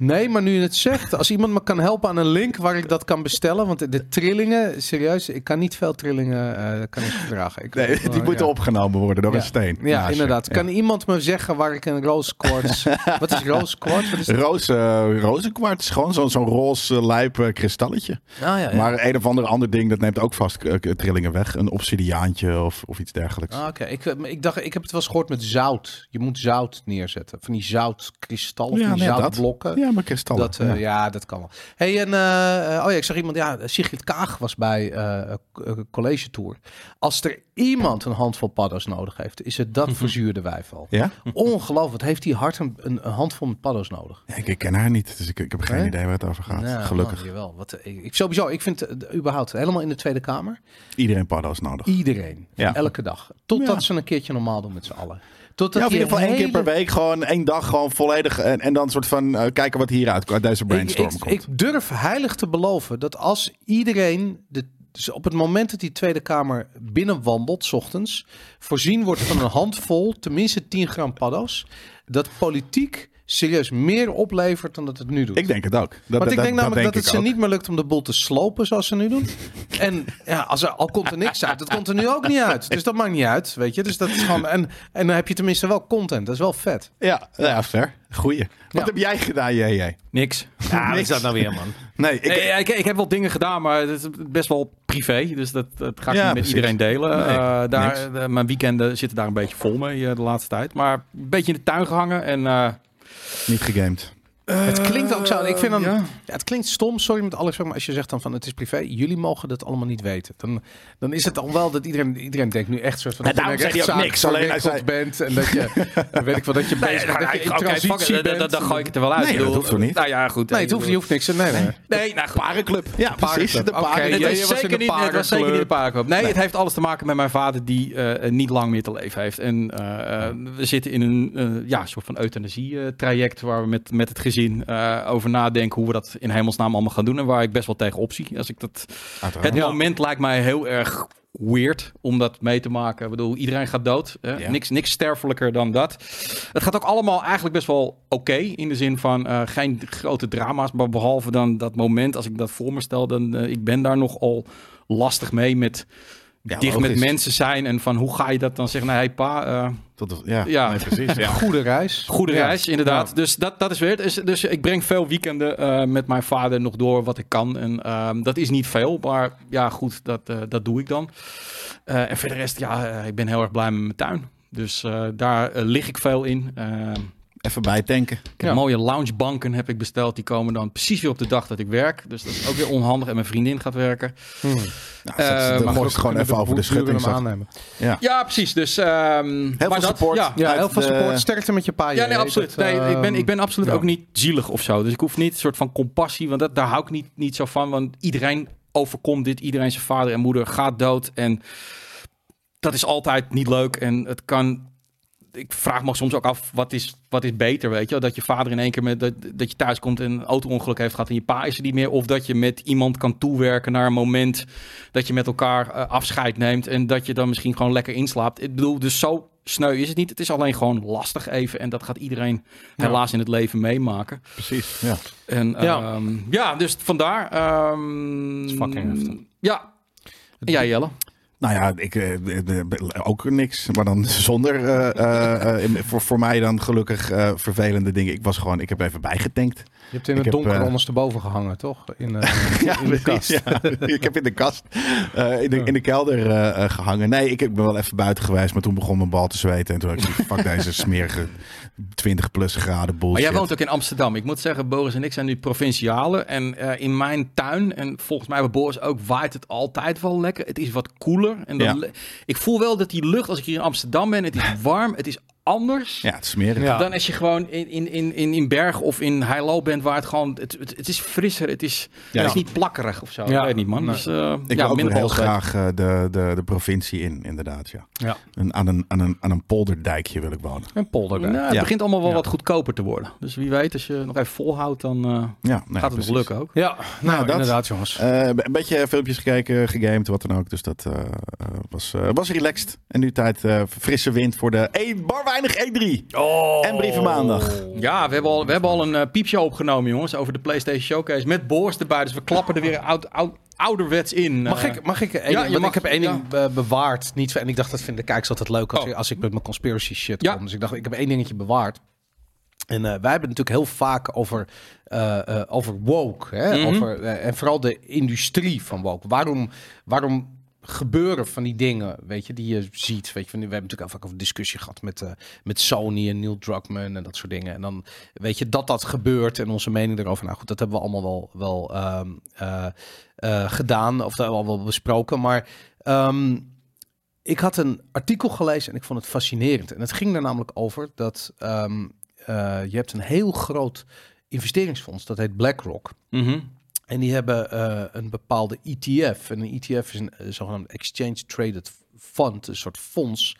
F: Nee, maar nu je het zegt, als iemand me kan helpen aan een link waar ik dat kan bestellen. Want de, de trillingen, serieus, ik kan niet veel trillingen eh, kan ik verdragen. Ik, Oh,
A: Nee, die moeten
F: ja.
A: opgenomen worden door
F: Ja.
A: een steen.
F: Ja,
A: naast je.
F: inderdaad.
A: Ja.
F: Kan iemand me zeggen waar ik een roze quartz... wat is roze quartz? Wat is dat?
A: Roze, eh, roze kwarts, gewoon zo'n zo'n roze eh, lijp eh, kristalletje.
F: Ah, ja, ja.
A: Maar een of ander ander ding, dat neemt ook vast eh, trillingen weg. Een obsidiaantje of, of iets dergelijks.
F: Ah, Oké, ik, eh, ik dacht, ik heb het wel eens gehoord met zout. Je moet zout neerzetten. Van die zoutkristallen,
A: Ja,
F: van die
A: nee, dat.
F: zoutblokken.
A: Ja, maar kristallen.
F: Dat, eh, ja.
A: ja.
F: dat kan wel. Hey, en eh, eh, oh ja, ik zag iemand, ja, Sigrid Kaag was bij eh, k- eh, college tour. Als er iemand een handvol paddo's nodig heeft, is het dat verzuurde wijfal.
A: Mhm. Ja?
F: Ongelooflijk, wat heeft die hart een, een, een handvol met paddo's nodig?
A: Ik, ik ken haar niet, dus ik, ik heb geen
F: Nee?
A: idee waar het over gaat.
F: Nou,
A: Gelukkig.
F: man, jawel. Wat, eh, ik, ik- sowieso, ik vind eh, de- überhaupt helemaal in de Tweede Kamer.
A: Iedereen paddo's nodig.
F: Iedereen.
A: Ja.
F: Elke dag. Totdat
A: Ja.
F: ze een keertje normaal doen met z'n allen. Totdat
A: Ja, of in
F: die
A: ieder geval één keer
F: hele-
A: per week, gewoon één dag, gewoon volledig. En, en dan soort van eh, kijken wat hieruit uit deze brainstorm
F: ik, ik,
A: komt.
F: ik durf heilig te beloven dat als iedereen. De, dus op het moment dat die Tweede Kamer binnenwandelt, 's ochtends, voorzien wordt van een handvol, tenminste 10 gram paddo's, dat politiek serieus meer oplevert dan dat het nu doet.
A: Ik denk het ook. Dat,
F: Want
A: dat-
F: ik denk namelijk
A: ik
F: dat, het ze
A: ook.
F: niet meer lukt om de boel te slopen zoals ze nu doen. En ja, als er, al komt er niks uit, dat komt er nu ook niet uit. Dus dat maakt niet uit, weet je. Dus dat is gewoon, en, en dan heb je tenminste wel content, dat is wel vet.
A: Ja, nou ja, fair. Goeie. Wat
F: Ja.
A: heb jij gedaan, JJ?
D: Niks.
F: Ja, wat is dat nou weer, man?
A: Nee, ik,
D: Ik, nee, ik, ik heb wel dingen gedaan, maar het is best wel privé. Dus dat, dat ga ik niet
A: Ja,
D: met
A: precies.
D: iedereen delen.
A: Nee,
D: Eh, daar,
A: niks.
D: de- mijn weekenden zitten daar een beetje vol mee eh, de laatste tijd. Maar een beetje in de tuin gehangen. En, eh,
A: niet gegamed.
F: Het klinkt ook zo. Ik vind dan,
A: Eh,
D: ja.
F: ja. het klinkt stom, sorry met alles, maar als je zegt dan van het is privé, jullie mogen dat allemaal niet weten. Dan, dan is het al wel dat iedereen, iedereen denkt nu echt soort van
A: Ja,
D: Nou,
F: dat je in een
A: daarom zei hij ook
F: rechtszaak
A: niks, alleen hij
F: verwikkeld bent en dat je, dan weet ik wel, dat je bezig bent, dat je in
D: oké,
F: transitie
D: fuck it, dat-
F: bent.
D: dat- dat gooi ik het er wel uit.
A: Nee,
D: Ik bedoel,
A: dat hoeft toch niet?
D: Nou ja, goed.
F: Nee, het hoeft, je hoeft niks. te- Nee, nee.
D: Nee, nou goed.
A: Parenclub. Ja, precies.
F: Parenclub.
A: De
F: Oké,
A: paren-
D: Het,
F: Jij
D: is
F: was in
D: zeker
F: de
D: niet, het was zeker niet de
F: parenclub.
D: parenclub. Nee, het heeft alles te maken met mijn vader die eh, niet lang meer te leven heeft. En eh, eh, we zitten in een eh, ja, soort van euthanasie-traject waar we met, met het gezin eh, over nadenken hoe we dat in hemelsnaam allemaal gaan doen. En waar ik best wel tegen op zie. Als ik dat,
A: Uiteraard.
D: het moment lijkt mij heel erg weird om dat mee te maken. Ik bedoel, iedereen gaat dood. Hè?
A: Ja.
D: Niks, niks sterfelijker dan dat. Het gaat ook allemaal eigenlijk best wel oké. in de zin van eh, geen grote drama's. Maar behalve dan dat moment, als ik dat voor me stel, dan eh, ik ben daar nogal lastig mee met.
A: Ja,
D: dicht
A: logisch.
D: met mensen zijn en van hoe ga je dat dan zeggen? Nou, hey pa, eh,
A: Tot de- ja,
D: Ja.
A: nee, precies. Ja.
F: Goede reis.
D: goede
F: Ja.
D: reis, inderdaad. Dus dat, dat is weer. het. Dus, dus ik breng veel weekenden eh, met mijn vader nog door wat ik kan. En ehm, dat is niet veel, maar ja, goed, dat, eh, dat doe ik dan. Eh, en verder de rest, ja, eh, ik ben heel erg blij met mijn tuin. Dus eh, daar eh, lig ik veel in. Ehm,
A: Even bijtanken.
D: Ik heb mooie loungebanken heb ik besteld. Die komen dan precies weer op de dag dat ik werk. Dus dat is ook weer onhandig. En mijn vriendin gaat werken.
A: Nou, zet-
D: maar
A: dan
D: goed,
A: gooi je het gewoon even over de schutting.
F: hem
A: zak.
F: aannemen.
D: Ja, precies. Dus, ehm,
A: Heel
D: maar
A: veel
D: dat-
A: support.
D: Ja,
F: Ja,
A: Uit eh,
F: heel veel
A: de-
F: support. Sterkte met je pa.
D: Eh, Ja,
F: J.J.
D: nee, absoluut.
F: Dat,
D: Nee, ik, ben,
F: ehm,
D: ik ben absoluut
F: ja.
D: ook niet zielig of zo. Dus ik hoef niet een soort van compassie, want dat, daar hou ik niet, niet zo van. Want iedereen overkomt dit, iedereen zijn vader en moeder gaat dood. En dat dat is altijd niet leuk. En het kan. Ik vraag me soms ook af, wat is, wat is beter, weet je? wel? Dat je vader in één keer met dat, dat je thuis komt en een auto-ongeluk heeft gehad en je pa is er niet meer. Of dat je met iemand kan toewerken naar een moment dat je met elkaar eh, afscheid neemt en dat je dan misschien gewoon lekker inslaapt. Ik bedoel, dus zo sneu is het niet. Het is alleen gewoon lastig even en dat gaat iedereen
F: Ja.
D: helaas in het leven meemaken.
A: Precies. Ja.
D: En,
F: Ja.
D: ja. ja, dus vandaar. ehm,
C: is fucking heftig.
D: Ja. En jij, Jelle?
A: Nou ja, ik, eh, eh, eh, ook niks. Maar dan zonder, eh, eh, eh, in- voor, voor mij dan gelukkig eh, vervelende dingen. Ik was gewoon, ik heb even bijgetankt.
F: Je hebt in
A: Ik
F: het
A: heb,
F: donker
A: eh,
F: ondersteboven gehangen, toch? In, eh,
A: Ja,
F: in de
A: precies.
F: kast.
A: Ja, ik heb in de kast, eh, in, de, in de kelder eh, eh, gehangen. Nee, ik ik ben wel even buiten geweest, maar toen begon mijn bal te zweten. En toen had ik zoiets van, fuck deze smerige 20 plus graden
D: Maar
A: bullshit.
D: jij woont ook in Amsterdam. Ik moet zeggen, Boris en ik zijn nu provincialen. En eh, in mijn tuin, en volgens mij bij Boris ook, waait het altijd wel lekker. Het is wat koeler. En dan
A: Ja.
D: le- Ik voel wel dat die lucht, als ik hier in Amsterdam ben, het is warm, het is anders.
A: Ja, het is smerig.
F: Ja.
D: Dan als je gewoon in, in, in, in, in Berg of in Heilo bent, waar het gewoon... Het, het, het is frisser, het is,
A: Ja.
D: het is niet plakkerig of zo.
F: Ja.
D: Ik weet niet, man.
F: Nee.
D: Dus, eh,
A: Ik
D: ja,
A: wil
D: minder
A: ook weer heel
D: balzweet.
A: graag eh, de, de, de provincie in, inderdaad. Ja.
F: Ja.
A: Een, aan, een, aan, een, aan een polderdijkje wil ik wonen.
F: Een polder.
D: Nou, het
A: Ja.
D: begint allemaal wel
F: Ja.
D: wat goedkoper te worden. Dus wie weet, als je nog even volhoudt, dan eh,
A: Ja, nee,
D: gaat het
A: precies.
D: nog lukken ook.
F: Ja, nou,
A: dat-
F: inderdaad, jongens.
A: Eh, een beetje filmpjes gekeken, gegamed, wat dan ook. Dus dat eh, eh, was, eh, was relaxed. En nu tijd eh, frisse wind voor de E- bar weinig E3.
D: Oh.
A: En brieven maandag.
D: Ja, we hebben al, we hebben al een eh, piepshow opgenomen, jongens, over de PlayStation Showcase. Met Boris erbij, dus we klappen er weer oud, oud, ouderwets in.
F: Mag
D: Eh,
F: ik, mag ik één
D: ja,
F: ding-
D: je
F: want
D: mag-
F: ik heb één ding be- bewaard. Niet, en ik dacht, dat vinden de kijkers altijd leuk als,
D: Oh.
F: ik, als ik met mijn conspiracy shit
D: Ja.
F: kom. Dus ik dacht, ik heb één dingetje bewaard. En eh, wij hebben het natuurlijk heel vaak over, eh, eh, over woke. Hè?
D: Mhm.
F: over, eh, en vooral de industrie van woke. Waarom, waarom gebeuren van die dingen, weet je, die je ziet. Weet je, van, die- we hebben natuurlijk al vaak over discussie gehad met, eh, met Sony en Neil Druckmann en dat soort dingen. En dan weet je dat dat gebeurt en onze mening daarover. Nou goed, dat hebben we allemaal wel, wel ehm, eh, eh, gedaan of daar hebben we al wel besproken. Maar ehm, ik had een artikel gelezen en ik vond het fascinerend. En het ging er namelijk over dat ehm, eh, je hebt een heel groot investeringsfonds, dat heet BlackRock.
D: Mhm.
F: En die hebben eh, een bepaalde ETF. En een ETF is een eh, zogenaamd Exchange Traded Fund, een soort fonds.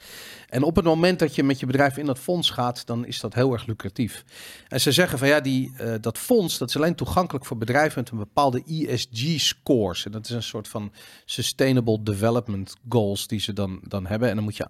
F: En op het moment dat je met je bedrijf in dat fonds gaat, dan is dat heel erg lucratief. En ze zeggen van ja, die, eh, dat fonds dat is alleen toegankelijk voor bedrijven met een bepaalde E ESG-scores. En dat is een soort van Sustainable Development Goals die ze dan, dan hebben. En dan moet je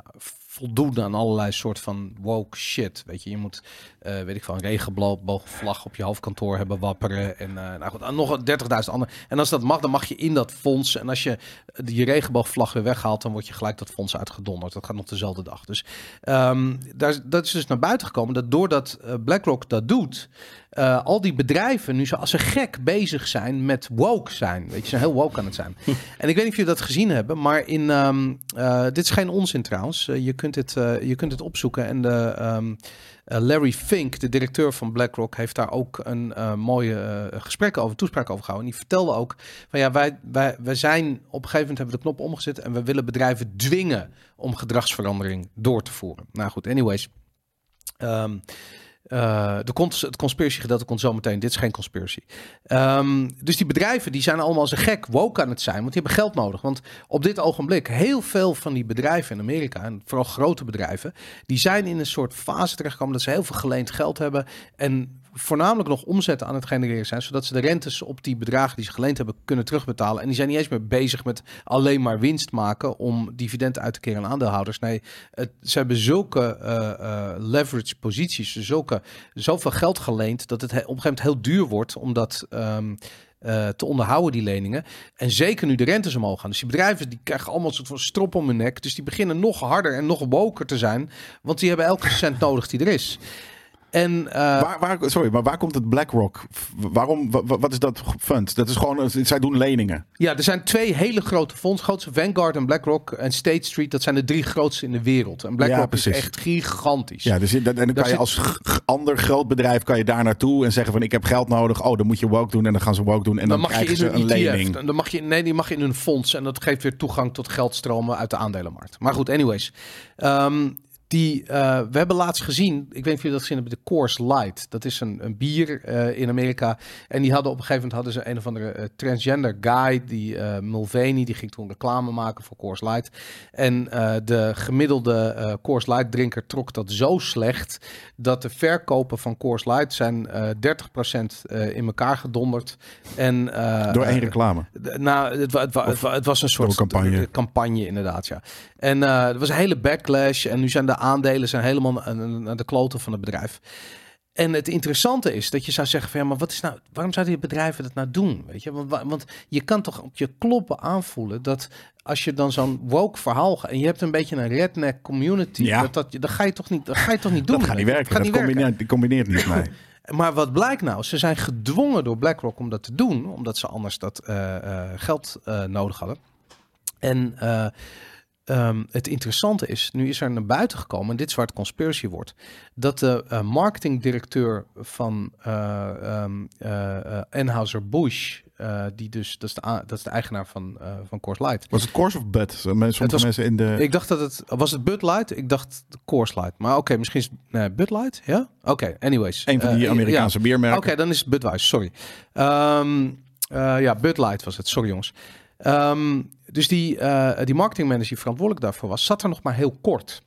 F: voldoen aan allerlei soort van woke shit. Weet je, je moet, eh, weet ik van, regenboogvlag op je hoofdkantoor hebben wapperen. En eh, nou goed, nog 30.000 andere. En als dat mag, dan mag je in dat fonds. En als je die regenboogvlag weer weghaalt, dan word je gelijk dat fonds uitgedonderd. Dat gaat nog dezelfde dag. Dus ehm, daar, is- dat is dus naar buiten gekomen dat doordat eh, BlackRock dat doet, eh, al die bedrijven nu zo als een gek bezig zijn met woke zijn. Weet je, ze zijn heel woke aan het zijn. en ik weet niet of jullie dat gezien hebben, maar in, ehm, eh, dit is geen onzin trouwens. Eh, je, kunt dit, eh, je kunt dit opzoeken en de, ehm, eh, Larry Fink, de directeur van BlackRock, heeft daar ook een eh, mooie eh, gesprek over, toespraak over gehouden. En die vertelde ook van ja, wij, wij, wij zijn op een gegeven moment hebben we de knop omgezet en we willen bedrijven dwingen om gedragsverandering door te voeren. Nou goed, anyways. Ehm, eh, de cons het conspiratiegedeelte komt zo meteen. Dit is geen conspiracy. Ehm, dus die bedrijven die zijn allemaal als een gek woke aan het zijn. Want die hebben geld nodig. Want op dit ogenblik, heel veel van die bedrijven in Amerika... en vooral grote bedrijven... die zijn in een soort fase terechtgekomen... dat ze heel veel geleend geld hebben... en voornamelijk nog omzetten aan het genereren zijn... zodat ze de rentes op die bedragen die ze geleend hebben... kunnen terugbetalen. En die zijn niet eens meer bezig met alleen maar winst maken... om dividend uit te keren aan aandeelhouders. Nee, het, ze hebben zulke eh, eh, leverage posities... Zulke, zoveel geld geleend... dat het he- op een gegeven moment heel duur wordt... omdat... ehm, eh, te onderhouden, die leningen. En zeker nu de rentes omhoog gaan. Dus die bedrijven die krijgen allemaal een soort van strop om hun nek. Dus die beginnen nog harder en nog woker te zijn. Want die hebben elke cent nodig die er is. En eh,
A: Waar, waar, sorry, maar waar komt het BlackRock? v- Waarom, wa- wa- wat is dat fund? Dat is gewoon, een- zij doen leningen.
F: ja, er zijn twee hele grote fondsen. Grootste Vanguard en BlackRock en State Street. Dat zijn de drie grootste in de wereld. En
A: Ja,
F: BlackRock is
A: precies.
F: echt gigantisch.
A: Ja, dus, in- dat- en dan
F: Daar
A: kan je
F: zit-
A: als g- g- ander groot bedrijf kan je daar naartoe en zeggen van ik heb geld nodig. Oh, dan moet je woke doen en dan gaan ze woke doen en dan,
F: dan, mag je
A: krijgen
F: in
A: ze
F: hun
A: een
F: ETF.
A: lening.
F: Dan- Dan mag je, nee, die mag je in hun fonds. En dat geeft weer toegang tot geldstromen uit de aandelenmarkt. Maar goed, anyways. Ehm, Die, eh, we hebben laatst gezien, ik weet niet of jullie dat gezien hebben, de Coors Light. Dat is een, een bier eh, in Amerika. En die hadden op een gegeven moment hadden ze een of andere eh, transgender guy, die eh, Mulvaney, die ging toen reclame maken voor Coors Light. En eh, de gemiddelde eh Coors Light drinker trok dat zo slecht, dat de verkopen van Coors Light zijn eh 30% eh, in elkaar gedonderd. En, eh,
A: Door één
F: eh,
A: reclame.
F: D- Nou, het, wa- het, wa- het, wa- het was een soort
A: Door een campagne.
F: d- campagne, inderdaad, ja. En eh er was een hele backlash. En nu zijn de aandelen zijn helemaal na- na- naar de kloten van het bedrijf. En het interessante is dat je zou zeggen van ja, maar wat is nou, waarom zouden die bedrijven dat nou doen? Weet je? Want, wa- want je kan toch op je kloppen aanvoelen dat als je dan zo'n woke verhaal gaat en je hebt een beetje een redneck community,
A: Ja.
F: dat, dat, dan ga je toch niet, dat ga je toch niet doen?
A: Dat gaat niet
F: weet je?
A: werken.
F: gaat
A: Dat
F: niet werken.
A: combineert, combineert niet mee.
F: Maar wat blijkt nou? Ze zijn gedwongen door BlackRock om dat te doen, omdat ze anders dat eh, eh, geld eh, nodig hadden. En eh, ehm, het interessante is, nu is er naar buiten gekomen, en dit is waar het conspiracy wordt, dat de eh, marketingdirecteur van eh, ehm, eh, eh, Anheuser-Busch, eh, die dus, dat is de, a- dat is de eigenaar van, eh van Coors Light,
A: Was het Coors of Bud? Sommige
F: Het was-
A: mensen in de...
F: ik dacht dat het... Was het Bud Light? Ik dacht de Coors Light. Maar oké, misschien is het nee, Bud Light? Ja? Oké, anyways.
A: Een van
F: Eh,
A: die
F: ja,
A: Amerikaanse biermerken.
F: Oké, dan is het Budweiser, sorry. Ehm, eh, ja, Bud Light was het, sorry jongens. Ehm, dus die, eh, die marketingmanager die verantwoordelijk daarvoor was, zat er nog maar heel kort.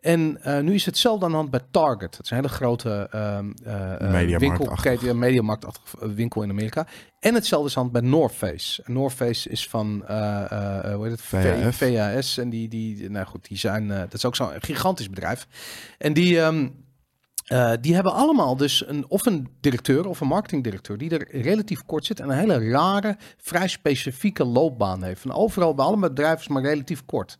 F: En eh, nu is hetzelfde aan de hand bij Target. Dat is een hele grote ehm eh, eh,
A: Mediamarktachtig.
F: winkelketen, ja, mediamarktachtig eh, winkel in Amerika. En hetzelfde is aan de hand bij North Face. En North Face is van, eh, eh, eh, hoe heet het?
A: VHF.
F: VHS. En die, die, nou goed, die zijn, eh, dat is ook zo'n gigantisch bedrijf. En die, ehm, eh, die hebben allemaal dus een, of een directeur of een marketingdirecteur die er relatief kort zit en een hele rare, vrij specifieke loopbaan heeft. Van overal bij alle bedrijven is maar relatief kort.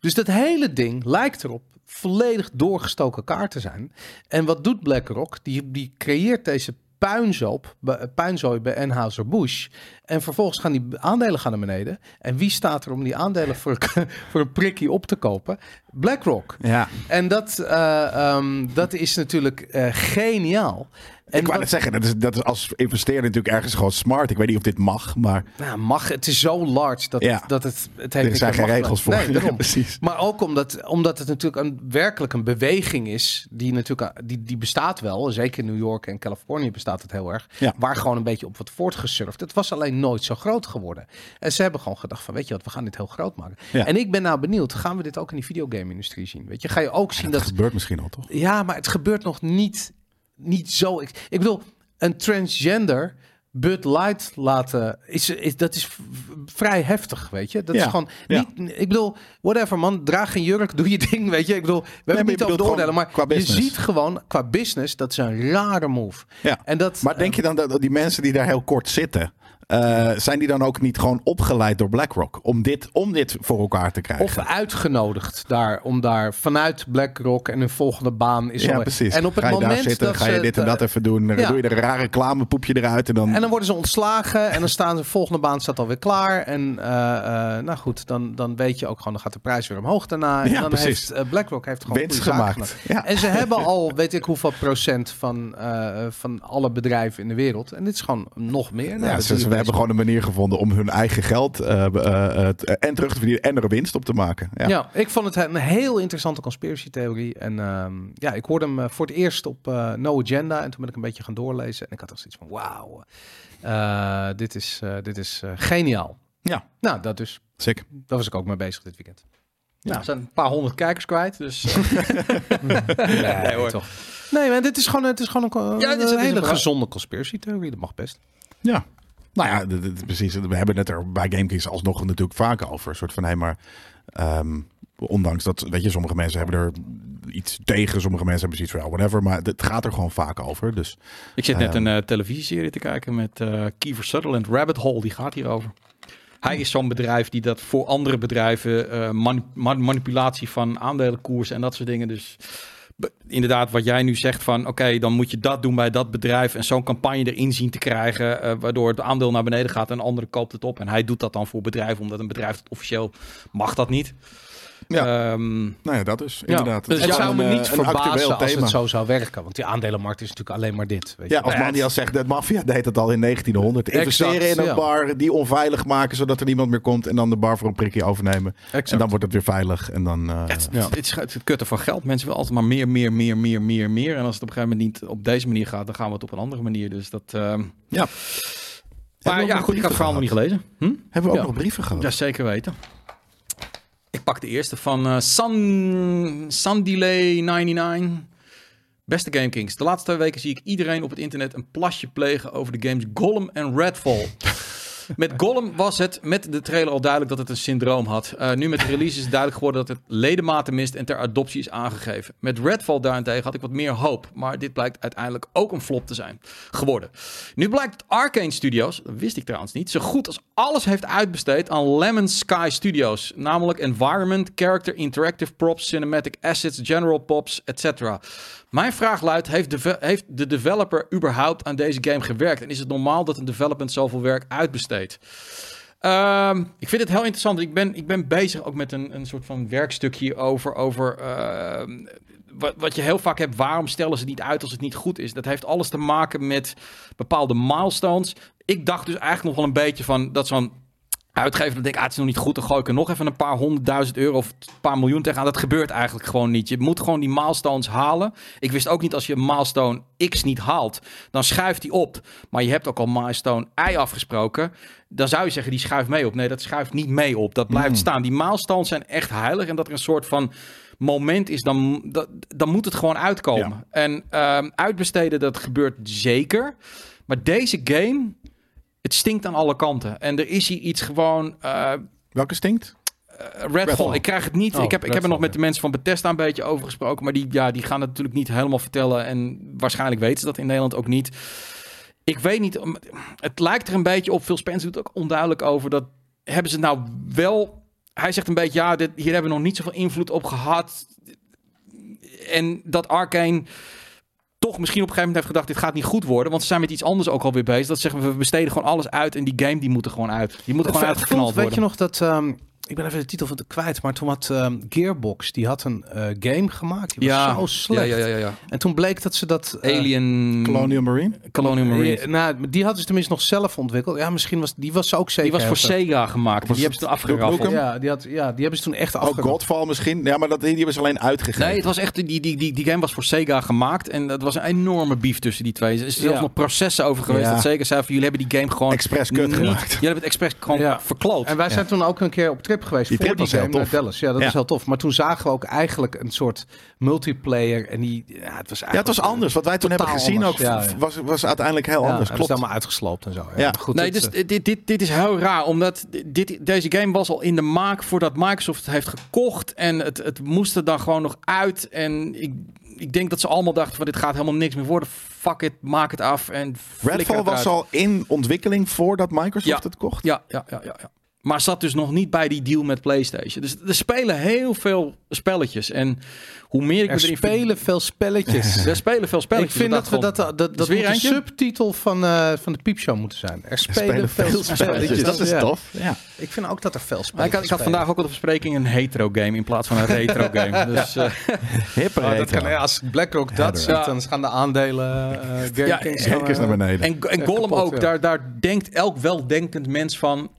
F: Dus dat hele ding lijkt erop volledig doorgestoken kaart te zijn. En wat doet BlackRock? Die, die creëert deze puinzoop, bij- puinzooi bij Anheuser-Busch. En vervolgens gaan die aandelen gaan naar beneden. En wie staat er om die aandelen voor, voor een prikkie op te kopen? BlackRock.
A: Ja,
F: En dat, eh, ehm, dat is natuurlijk eh, geniaal. En
A: ik wou net
F: wat-
A: zeggen, dat is, dat is als investeerder natuurlijk ergens gewoon smart. Ik weet niet of dit mag, maar
F: nou, mag, het is zo large dat,
A: Ja.
F: het, dat het, het heeft
A: er
F: niks
A: zijn
F: met
A: geen
F: macht-
A: regels voor.
F: Nee, daarom.
A: precies.
F: Maar ook omdat, omdat het natuurlijk een, werkelijk een beweging is. Die natuurlijk eh, die, die bestaat wel. Zeker in New York en Californië bestaat het heel erg.
A: Ja.
F: Waar gewoon een beetje op wordt voortgesurfd. Het was alleen nooit zo groot geworden. En ze hebben gewoon gedacht van weet je wat, we gaan dit heel groot maken.
A: Ja.
F: En ik ben nou benieuwd, gaan we dit ook in die videogame industrie zien? Weet je, ga je ook zien
A: Dat,
F: dat
A: gebeurt misschien al, toch?
F: Ja, maar het gebeurt nog niet, niet zo. Ik, ik bedoel, een transgender Bud Light laten, is, is, dat is v- vrij heftig, weet je. Dat
A: Ja,
F: is gewoon
A: ja.
F: niet... Ik bedoel, whatever man, draag geen jurk, doe je ding, weet je. Ik bedoel, we hebben
A: maar
F: het
A: je
F: niet over
A: bedoelt
F: de oordelen,
A: gewoon
F: maar
A: qua
F: je
A: business.
F: ziet gewoon qua business, dat is een rare move.
A: Ja.
F: En dat,
A: Maar denk je dan dat die mensen die daar heel kort zitten, eh, zijn die dan ook niet gewoon opgeleid door BlackRock om dit, om dit voor elkaar te krijgen?
F: Of uitgenodigd daar om daar vanuit BlackRock en hun volgende baan is.
A: ja,
F: om-
A: precies.
F: En op het
A: ga je
F: moment
A: daar zitten,
F: dat
A: ga je
F: ze
A: dit en
F: het, eh,
A: dat even doen. Dan
F: ja.
A: doe je er een raar reclamepoepje eruit en dan...
F: En dan worden ze ontslagen en dan staan ze, volgende baan staat alweer klaar. En eh, eh, nou goed, dan, dan weet je ook gewoon, dan gaat de prijs weer omhoog daarna. En
A: Ja,
F: dan
A: precies.
F: heeft eh, BlackRock heeft gewoon
A: Winst
F: goede zaken
A: gemaakt.
F: gedaan.
A: Ja.
F: En ze hebben al, weet ik hoeveel procent van, eh, van alle bedrijven in de wereld. En dit is gewoon nog meer. Nou,
A: ja,
F: dat
A: ze-
F: zie je
A: ze- we
F: bij
A: hebben gewoon een manier gevonden om hun eigen geld eh, eh, eh, t- en terug te verdienen en er winst op te maken. Ja.
F: Ja. ik vond het een heel interessante conspiratietheorie. En ehm, ja, ik hoorde hem eh, voor het eerst op eh, No Agenda. En toen ben ik een beetje gaan doorlezen. En ik had echt zoiets van, wauw, eh, dit is, eh, dit is eh, geniaal.
A: Ja.
F: Nou, dat dus.
A: Zeker.
F: Daar was ik ook mee bezig dit weekend.
D: Nou, we zijn een paar honderd kijkers kwijt, dus... nee hoor.
F: toch. Nee, maar dit is gewoon, het is gewoon een,
D: Ja,
F: co-
D: dit is-
F: een
D: dit is
F: hele
D: een bra-
F: gezonde conspiratietheorie. Dat mag best.
A: Ja. Nou ja, d- d- precies. We hebben het er bij GameKings alsnog natuurlijk vaak over. Een soort van, hé, maar... ehm, ondanks dat, weet je, sommige mensen hebben er iets tegen. Sommige mensen hebben zoiets van, ja, whatever. Maar het gaat er gewoon vaak over. Dus
D: Ik zit net een eh, televisieserie te kijken met eh Kiefer Sutherland, Rabbit Hole, die gaat hierover. Hij is zo'n bedrijf die dat voor andere bedrijven, eh, mani- ma- manipulatie van aandelenkoersen en dat soort dingen. Dus be- inderdaad, wat jij nu zegt van oké, dan moet je dat doen bij dat bedrijf en zo'n campagne erin zien te krijgen, eh, waardoor het aandeel naar beneden gaat en anderen koopt het op. En hij doet dat dan voor bedrijven, omdat een bedrijf dat officieel mag dat niet.
A: Ja.
D: Ehm,
A: Nou ja, dat is
D: Ja,
A: inderdaad.
D: dus
A: is
F: het
D: ja,
A: gewoon
F: zou me
A: een,
F: niet
A: eh, een actueel
F: verbazen als
A: thema.
F: het zo zou werken. Want die aandelenmarkt is natuurlijk alleen maar dit. Weet
A: Ja,
F: je. wel.
A: als Manias zegt, de maffia deed dat al in 1900. Investeren
F: Exact,
A: in een
F: ja.
A: bar, die onveilig maken zodat er niemand meer komt. En dan de bar voor een prikje overnemen. En dan wordt het weer veilig. En dan, eh,
D: Het, het, is, het kutten van geld. Mensen willen altijd maar meer, meer, meer, meer, meer, meer. En als het op een gegeven moment niet op deze manier gaat, dan gaan we het op een andere manier. Dus dat. ehm,
A: Ja.
D: Maar
A: ook
D: ja,
A: nog
D: goed, ik had het verhaal nog niet
A: brieven
D: gelezen. Hm?
A: Hebben we ook
D: Ja.
A: nog brieven gehad?
D: Ja, zeker weten. Ik pak de eerste van eh, San, San Delay 99. Beste Game Kings, de laatste twee weken zie ik iedereen op het internet een plasje plegen over de games Gollum en Redfall. Met Gollum was het met de trailer al duidelijk dat het een syndroom had. Eh, nu met de release is het duidelijk geworden dat het ledematen mist en ter adoptie is aangegeven. Met Redfall daarentegen had ik wat meer hoop, maar dit blijkt uiteindelijk ook een flop te zijn geworden. Nu blijkt dat Arcane Studios, dat wist ik trouwens niet, zo goed als alles heeft uitbesteed aan Lemon Sky Studios. Namelijk environment, character, interactive props, cinematic assets, general pops, etc. Mijn vraag luidt, heeft de, heeft de developer überhaupt aan deze game gewerkt? En is het normaal dat een development zoveel werk uitbesteedt? Ehm, ik vind het heel interessant. want Ik ben, ik ben bezig ook met een, een soort van werkstukje over, over ehm, wat, wat je heel vaak hebt. Waarom stellen ze het niet uit als het niet goed is? Dat heeft alles te maken met bepaalde milestones. Ik dacht dus eigenlijk nog wel een beetje van dat zo'n uitgever dan denkt, ah, het is nog niet goed, dan gooi ik er nog even een paar honderdduizend euro of een paar miljoen tegenaan. Dat gebeurt eigenlijk gewoon niet. Je moet gewoon die milestones halen. Ik wist ook niet, als je milestone X niet haalt, dan schuift die op. Maar je hebt ook al milestone Y afgesproken. Dan zou je zeggen, die schuift mee op. Nee, dat schuift niet mee op. Dat blijft staan. Die milestones zijn echt heilig. En dat er een soort van moment is, dan, dat, dan moet het gewoon uitkomen. En ehm, uitbesteden, dat gebeurt zeker. Maar deze game, het stinkt aan alle kanten. En er is hier iets gewoon... eh,
A: Welke stinkt?
D: Redfall.
A: Redfall.
D: Ik krijg het niet.
C: Oh,
D: ik heb, ik heb er
C: Redfall,
D: nog met
C: ja.
D: de mensen van Bethesda een beetje over gesproken. Maar die, ja, die gaan het natuurlijk niet helemaal vertellen. En waarschijnlijk weten ze dat in Nederland ook niet. Ik weet niet. om- Het lijkt er een beetje op. Phil Spencer doet ook onduidelijk over. Dat hebben ze nou wel. Hij zegt een beetje, ja, dit, hier hebben we nog niet zoveel invloed op gehad. En dat Arkane toch misschien op een gegeven moment heeft gedacht, dit gaat niet goed worden. Want ze zijn met iets anders ook alweer bezig. Dat zeggen we, we besteden gewoon alles uit en die game die moet er gewoon uit. Die moet er
F: Het-
D: gewoon
F: het voelt,
D: uitgeknald
F: Weet
D: worden.
F: je nog dat... ehm, ik ben even de titel van de kwijt, maar toen had ehm, Gearbox, die had een eh, game gemaakt. Die was zo slecht.
D: Ja, ja, ja, ja.
F: En toen bleek dat ze dat... eh,
D: Alien
A: Colonial Marine?
D: Colonial Marines.
F: Ja, nou, die hadden ze tenminste nog zelf ontwikkeld. Ja, misschien was die was ze ook zeker.
D: die was voor
F: heel
D: Sega gemaakt.
A: Was
D: Die hebben ze toen
A: het Duke
D: afgeraffeld.
A: Nukem?
F: Ja, die, had, ja, die hebben ze toen echt
A: Ook
F: afgerond.
A: Godfall misschien? Ja, maar dat, die hebben ze alleen uitgegeven.
D: Nee, het was echt, die, die, die, die game was voor Sega gemaakt. En dat was een enorme beef tussen die twee. Er is zelfs
F: Ja.
D: nog processen over geweest.
A: Ja.
D: Dat Sega zei van, jullie hebben die game gewoon...
A: Express kut
D: niet-
A: gemaakt.
D: Jullie hebben het expres gewoon
F: Ja.
D: verkloot.
F: En wij zijn toen ook een keer op trip geweest
A: Die
F: voor
A: trip
F: die
A: was heel
F: game naar
A: tof.
F: Dallas. Ja, dat
A: Ja.
F: was heel tof. Maar toen zagen we ook eigenlijk een soort multiplayer. En die, ja, het was eigenlijk...
A: ja, het was anders. Wat wij toen hebben
F: Totaal
A: gezien
F: anders,
A: ook
F: ja, ja.
A: was, was uiteindelijk heel
F: Ja,
A: anders.
F: hebben ze
A: Klopt.
F: helemaal uitgesloopt en zo. Ja,
A: Ja.
F: Goed,
D: nee,
F: het,
D: dus
F: eh,
D: dit, dit, dit is heel raar, omdat dit, deze game was al in de maak voordat Microsoft het heeft gekocht. En het, het moest er dan gewoon nog uit. En ik, ik denk dat ze allemaal dachten van dit gaat helemaal niks meer worden. Fuck it, maak het af en flikker
A: Redfall
D: het
A: was
D: eruit.
A: al in ontwikkeling voordat Microsoft
D: Ja.
A: het kocht.
D: Ja, ja, ja, ja, ja. Maar zat dus nog niet bij die deal met PlayStation. Dus er spelen heel veel spelletjes. En hoe meer ik
F: er
D: me erin verdie-
F: spelen veel spelletjes.
D: Er spelen veel
F: Ik
D: spelletjes.
F: vind dat we dat, eh,
D: gewoon-
F: dat, dat,
D: Is weer
F: moet de
D: eentje?
F: subtitel van, eh, van de piepshow moeten zijn. Er spelen, veel spelletjes.
A: Dat is
F: Ja.
A: tof. Ja.
F: Ik vind ook dat er veel
D: Maar
F: spelletjes
D: ik had, ik had
F: spelen.
D: vandaag ook op de verspreking een hetero game in plaats van een retro game. Dus, eh,
A: Hipper
F: Oh, dat
A: retro.
F: kan, ja, als BlackRock
A: Ja,
F: dat
D: ja.
F: ziet, dan gaan de aandelen... eh Game
D: Ja,
F: Kings
A: Henk is naar
F: eh,
A: beneden.
D: en en
F: Echt
D: Gollum
F: kapot,
D: ook.
F: ja.
D: Daar, daar denkt elk weldenkend mens van...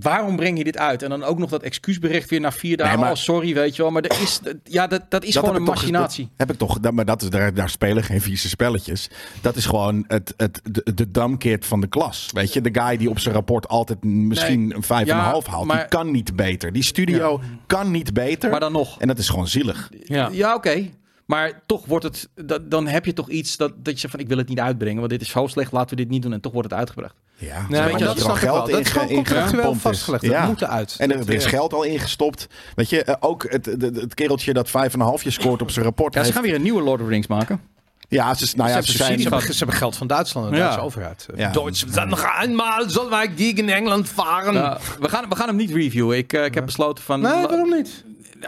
D: Waarom breng je dit uit? En dan ook nog dat excuusbericht weer na vier dagen.
A: Nee, maar-
D: Oh, sorry, weet je wel. Maar er is, ja, dat, dat is
A: Dat
D: gewoon
A: heb
D: een
A: ik toch-
D: machinatie.
A: dat heb ik toch. Dat, maar dat is, daar, daar spelen geen vieze spelletjes. Dat is gewoon het, het, de, de dumkid van de klas. Weet je, de guy die op zijn rapport altijd misschien
D: Nee,
A: een vijf en
D: ja,
A: een half haalt.
D: maar-
A: die kan niet beter. Die studio kan niet beter.
D: Maar dan nog.
A: En dat is gewoon zielig.
D: Ja, oké. Maar toch wordt het, dat, dan heb je toch iets dat, dat je zegt van ik wil het niet uitbrengen, want dit is zo slecht, laten we dit niet doen. En toch wordt het uitgebracht.
A: Ja,
F: Nee,
A: omdat
F: maar dat
A: er al
F: snap ik wel. Dat
A: in
F: is gewoon
A: ge- in
F: contractueel
A: gepompt is.
F: vastgelegd. Dat moet eruit.
A: En er,
F: Dat-
A: er is
F: ja.
A: geld al ingestopt. Weet je, eh, ook het, het, het kereltje dat vijf en een halfje scoort op zijn rapport.
D: Ja, ze
A: heeft-
D: gaan weer een nieuwe Lord of the Rings maken.
A: ja, ze, nou ja,
D: hebben
A: ze
D: subsidie
A: zijn...
F: Ze
D: gehad.
F: hebben, ze hebben geld van Duitsland en de
D: Ja.
F: Duitse overheid.
A: Ja.
F: Duitsland, nog eenmaal zullen wij tegen Engeland varen.
D: Nou, we, gaan, we gaan hem niet reviewen. Ik, eh, ik heb besloten van...
F: nee, waarom niet?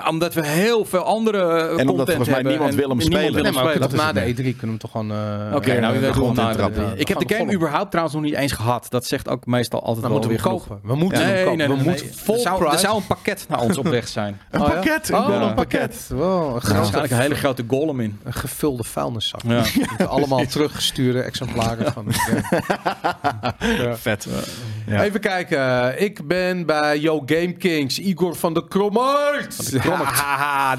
D: omdat we heel veel andere eh, content
A: omdat volgens mij
D: hebben
A: niemand
D: en
A: wil hem spelen.
D: wil
A: Nee,
F: Nee,
D: hem
F: maar we
D: spelen.
A: dat
F: kunnen toch
A: is
F: na
A: het
F: de E3 kunnen we hem toch gewoon... eh,
D: Oké, nou,
A: Oké,
D: je
A: we
D: weet
A: gaan
D: wel
A: gewoon
D: na de-
A: trappen.
D: eh,
F: We
D: Ik heb
F: gaan
D: de game
F: volgen.
D: überhaupt trouwens nog niet eens gehad. Dat zegt ook meestal altijd
F: Dan
D: wel
F: moeten we
D: weer
F: hem
D: genoeg.
F: kopen. We moeten
D: Nee,
F: hem
D: nee,
F: kopen.
D: nee,
F: we
D: nee.
F: moeten vol
D: er, zou, er
F: price.
D: zou een pakket naar ons op weg zijn.
A: Een
F: Oh, ja?
A: pakket. Ik
F: Oh,
A: wil
D: ja.
A: een pakket.
F: Wow, een grote,
D: Waarschijnlijk een hele grote golem in.
F: een gevulde vuilniszak.
D: Ja.
F: We moeten allemaal teruggestuurde exemplaren van het game.
A: Vet. Ja.
F: Even kijken. Ik ben bij Yo Game Kings. Igor van de Krommert. Van de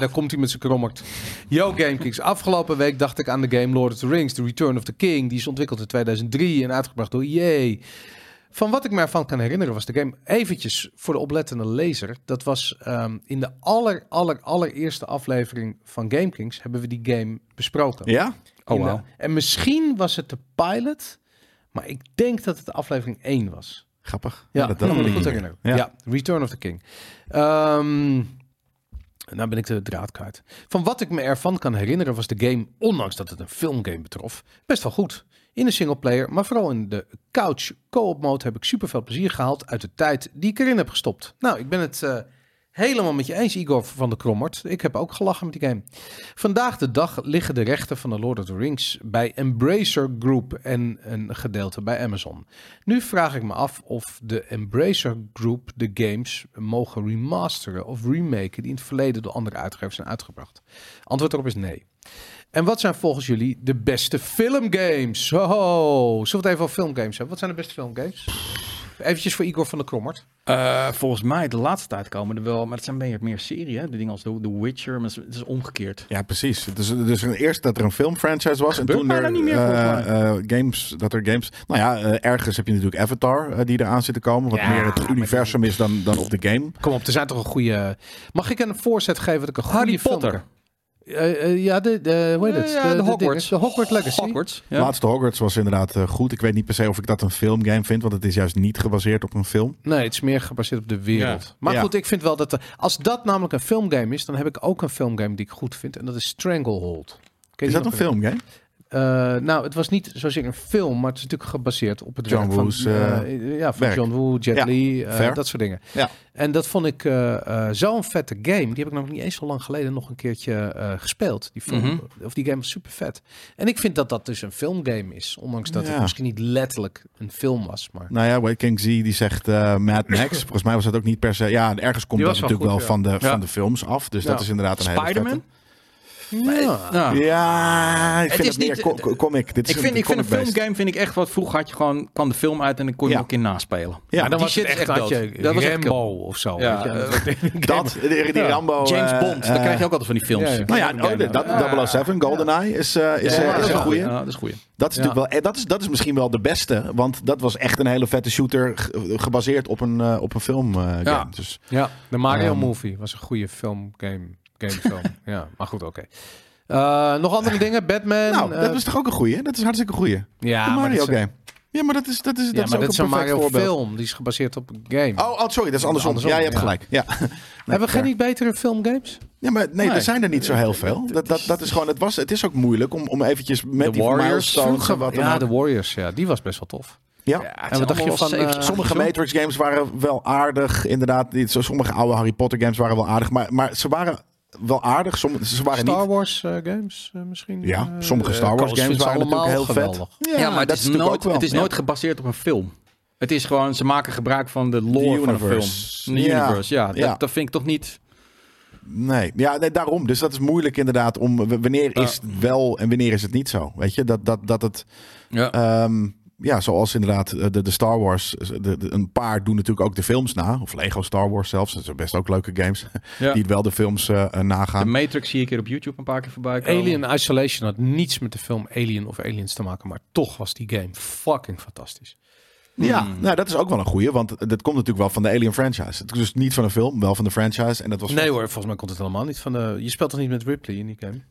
F: daar komt hij met zijn krommert. Yo Game Kings. Afgelopen week dacht ik aan de game Lord of the Rings. The Return of the King. Die is ontwikkeld in 2003 en uitgebracht door EA. Van wat ik me ervan kan herinneren was de game eventjes voor de oplettende lezer. Dat was ehm, in de aller, aller, allereerste aflevering van Game Kings hebben we die game besproken.
A: Ja?
D: Oh,
F: In de-
D: wauw.
F: En misschien was het de pilot, maar ik denk dat het de aflevering 1 was.
A: Grappig.
F: Ja,
A: dat
F: dat,
A: dacht ik
F: kan me
A: niet
F: goed
A: meer.
F: herinneren.
A: Ja.
F: Ja. Return of the King. Ehm nou ben ik de draad kwijt. Van wat ik me ervan kan herinneren was de game, ondanks dat het een filmgame betrof, best wel goed. In de singleplayer, maar vooral in de couch co-op mode heb ik superveel plezier gehaald uit de tijd die ik erin heb gestopt. Nou, ik ben het eh, helemaal met je eens, Igor van de Krommert. Ik heb ook gelachen met die game. Vandaag de dag liggen de rechten van de Lord of the Rings bij Embracer Group en een gedeelte bij Amazon. Nu vraag ik me af of de Embracer Group de games mogen remasteren of remaken die in het verleden door andere uitgevers zijn uitgebracht. Antwoord erop is nee. En wat zijn volgens jullie de beste filmgames? Ho, ho. Zullen we het even over filmgames hebben? Wat zijn de beste filmgames? Eventjes voor Igor van de Krommert.
D: Eh, volgens mij de laatste tijd komen er wel, maar het zijn meer, meer serie, hè? De dingen als The, The Witcher, maar het is, het is omgekeerd.
A: Ja, precies. Dus, dus eerst dat er een filmfranchise was. En
D: Gebeurt
A: toen
D: bijna
A: er
D: niet meer,
A: eh,
D: volgens
A: eh, games, dat er games. Nou ja, eh, ergens heb je natuurlijk Avatar eh, die eraan zit te komen. Wat
D: Ja,
A: meer het universum is dan, dan op de game.
F: Kom op, er zijn toch een goede... Mag ik een voorzet geven dat ik een goede
D: Harry
F: film
D: Potter.
F: kan- Eh, eh, ja, de, de, hoe heet het?
D: Ja, de, Hogwarts.
F: dinges, De Hogwarts Legacy.
D: Hogwarts, ja.
A: Laatste Hogwarts was inderdaad eh, goed. Ik weet niet per se of ik dat een filmgame vind, want het is juist niet gebaseerd op een film.
F: Nee, het is meer gebaseerd op de wereld. Maar
A: Ja.
F: goed, ik vind wel dat... de- als dat namelijk een filmgame is, dan heb ik ook een filmgame die ik goed vind. En dat is Stranglehold. Ken
A: Is
F: je
A: dat een
F: nog?
A: filmgame?
F: Eh, nou, het was niet zozeer een film, maar het is natuurlijk gebaseerd op het
A: John
F: werk van,
A: Woo's,
F: eh,
A: eh,
F: ja, van
A: werk.
F: John Woo, Jet
A: Ja,
F: Li, eh,
A: fair.
F: dat soort dingen.
A: Ja.
F: En dat vond ik eh, eh, zo'n vette game. Die heb ik nog niet eens zo lang geleden nog een keertje eh, gespeeld. Die film,
D: Mhm.
F: of die game was super vet. En ik vind dat dat dus een filmgame is, ondanks dat
A: Ja.
F: het misschien niet letterlijk een film was, maar.
A: Nou ja, Wade King Z die zegt eh, Mad Max. Volgens mij was dat ook niet per se. Ja, ergens komt
F: Die
A: dat
F: was wel
A: natuurlijk wel
F: goed,
A: van, de,
D: Ja.
A: van de films af. Dus dat
F: Ja.
A: is inderdaad een hele vette.
D: Spider-Man?
F: Ja.
D: Ja.
A: Ja,
D: Het
A: ik vind
D: is
A: het, meer
D: niet-
A: co- co- comic. Dit is
D: Ik vind,
A: een
D: ik vind een
A: comic-based.
D: filmgame vind ik echt wat vroeger had je gewoon kwam de film uit en dan kon je
A: Ja.
D: nog een keer naspelen.
A: Ja,
F: Maar Ah, dan
D: die
F: was het
D: shit is
F: echt,
D: echt
F: dat
D: dood.
F: je
D: Dat was echt
F: Rambo of zo.
D: Ja,
F: weet je.
D: eh,
A: Dat, die, die
F: Ja.
A: Rambo.
D: James
A: eh,
D: Bond, dan
A: eh,
D: krijg je ook altijd van die films.
F: ja, ja.
A: Nou ja, oh,
D: Game,
A: dat,
D: ja.
A: 007, GoldenEye is, eh, is,
D: Ja,
A: eh,
D: dat
A: is
D: wel
A: een goeie.
D: Ja, dat is goeie.
A: Dat is,
F: Ja.
A: natuurlijk wel, en dat, is, dat is misschien wel de beste. Want dat was echt een hele vette shooter. ge- gebaseerd op een, eh, op een film. eh, game. Dus,
F: Ja, de Mario
A: Ehm.
F: Movie was een goede film, game, gamefilm. ja, maar goed, oké. Eh, nog andere dingen? Batman?
A: nou,
F: eh,
A: dat is toch ook een goeie? Dat is hartstikke een goeie.
F: ja,
A: de
F: maar
A: Mario
F: dat is,
A: game. Ja, maar dat is, dat is, dat
F: ja,
A: is
F: maar
A: ook
F: dat is
A: een
F: een
A: perfect
F: Mario
A: voorbeeld.
F: film. Die is gebaseerd op een game.
A: Oh, oh, sorry, dat is andersom.
F: Andersom,
A: ja, je hebt
F: ja.
A: gelijk. Ja.
F: Hebben we geen
A: fair.
F: niet betere filmgames?
A: Ja, maar nee,
D: Nee.
A: er zijn er niet zo heel veel. Dat, dat, dat is gewoon, het, was, het is ook moeilijk om, om eventjes met
D: The
A: die
D: Warriors
A: milestones en wat dan
F: ja,
A: ook.
F: nou de Warriors, ja, die was best wel tof.
A: Ja.
F: En wat dacht je van... eh,
A: Sommige Matrix games waren wel aardig, inderdaad. Niet zo- Sommige oude Harry Potter games waren wel aardig. Maar, maar ze waren wel aardig. Sommige, ze waren
F: Star
A: niet...
F: Wars eh, games eh, misschien?
A: Ja,
F: Eh,
A: sommige Star
F: eh,
A: Wars
F: Koos
A: games
F: vindt ze
A: waren natuurlijk
F: allemaal
A: heel vet.
F: geweldig.
A: Ja,
D: Ja, maar het
A: dat
D: is,
A: natuurlijk
D: nooit,
A: ook wel.
D: het is
A: Ja.
D: nooit gebaseerd op een film. Het is gewoon, ze maken gebruik van de lore
A: The
D: van een
A: universe.
D: film. De
A: Ja.
D: universe, ja.
A: Ja.
D: Dat, dat vind ik toch niet...
A: Nee, ja, nee, daarom. Dus dat is moeilijk inderdaad. Om, w- wanneer
D: Ja.
A: is het wel en wanneer is het niet zo? Weet je, dat, dat, dat het...
D: Ja.
A: ehm, ja, zoals inderdaad eh, de, de Star Wars. De, de- een paar doen natuurlijk ook de films na. Of Lego Star Wars zelfs. Dat zijn best ook leuke games.
D: Ja.
A: Die wel de films eh, eh,
D: De
A: nagaan.
D: Matrix zie ik hier op YouTube een paar keer voorbij komen.
F: Alien Isolation had niets met de film Alien of Aliens te maken, maar toch was die game fucking fantastisch.
A: Ja,
D: Hmm.
A: nou, dat is ook wel een goeie. Want dat komt natuurlijk wel van de Alien franchise. Het is dus niet van een film, wel van de franchise. En dat was
F: Nee hoor, volgens mij komt het helemaal niet van de... Je speelt toch niet met Ripley in die game?
A: nee,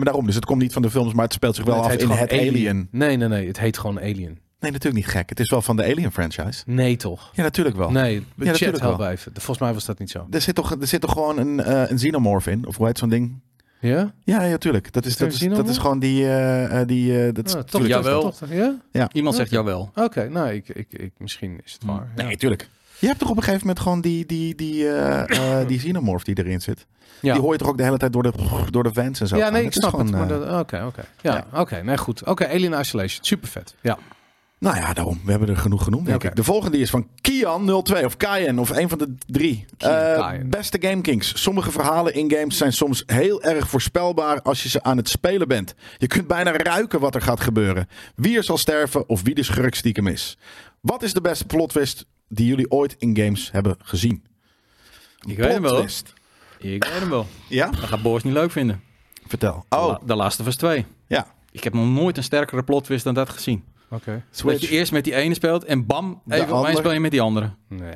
A: maar daarom. Dus het komt niet van de films, maar het speelt zich wel
F: Nee,
A: af in
F: heet
A: het
F: gewoon
A: Alien.
F: Nee, nee, nee, het heet gewoon Alien.
A: Nee, natuurlijk niet gek. Het is wel van de Alien franchise.
F: Nee toch?
A: Oh. Ja, natuurlijk wel.
F: Nee, ja, chat
A: natuurlijk wel.
F: help even. Volgens mij was dat niet zo.
A: Er, zit toch, er zit toch gewoon een, eh, een xenomorph in? Of hoe heet zo'n ding?
F: Ja? Ah,
A: Ja, ja, tuurlijk. Dat is,
F: Is er
A: dat
F: een
A: is, dat is
F: xenomorph?
A: gewoon die... eh, eh, die eh, dat,
F: Ah, toch,
A: tuurlijk.
D: jawel.
F: toch, toch, ja?
D: Iemand zegt jawel.
A: Hm.
F: Oké, nou, ik, ik, ik, misschien is het waar. ja.
A: Nee, tuurlijk. Je hebt toch op een gegeven moment gewoon die, die, die, eh, eh, die xenomorph die erin zit.
F: Ja.
A: Die hoor je toch ook de hele tijd door de, door de vents en zo.
F: ja,
A: gaan.
F: nee, ik
A: Het is
F: snap het.
A: gewoon,
F: maar
A: eh,
F: dat- Oké, oké. Ja, oké. nee, goed. Oké, Alien Isolation. Super vet. Ja.
A: Nou ja, daarom. We hebben er genoeg genoemd, denk
F: Oké.
A: ik. De volgende is van Kian02 of Kaien of een van de drie.
F: Kian,
A: Eh,
F: Kaien.
A: beste GameKings. Sommige verhalen in games zijn soms heel erg voorspelbaar als je ze aan het spelen bent. Je kunt bijna ruiken wat er gaat gebeuren. Wie er zal sterven of wie de schurk stiekem is. Wat is de beste plot twist die jullie ooit in games hebben gezien?
D: Ik weet hem wel.
A: Plotwist.
D: Ik weet hem wel.
A: Ja?
D: Dat gaat Boris niet leuk vinden.
A: Vertel.
D: De
A: Oh,
D: La- De Last of Us 2.
A: ja.
D: Ik heb nog nooit een sterkere plot twist dan dat gezien.
F: Oké.
D: Dat je eerst met die ene speelt en bam,
A: De
D: even opeens
A: ander.
D: speel je met die andere.
A: Nou,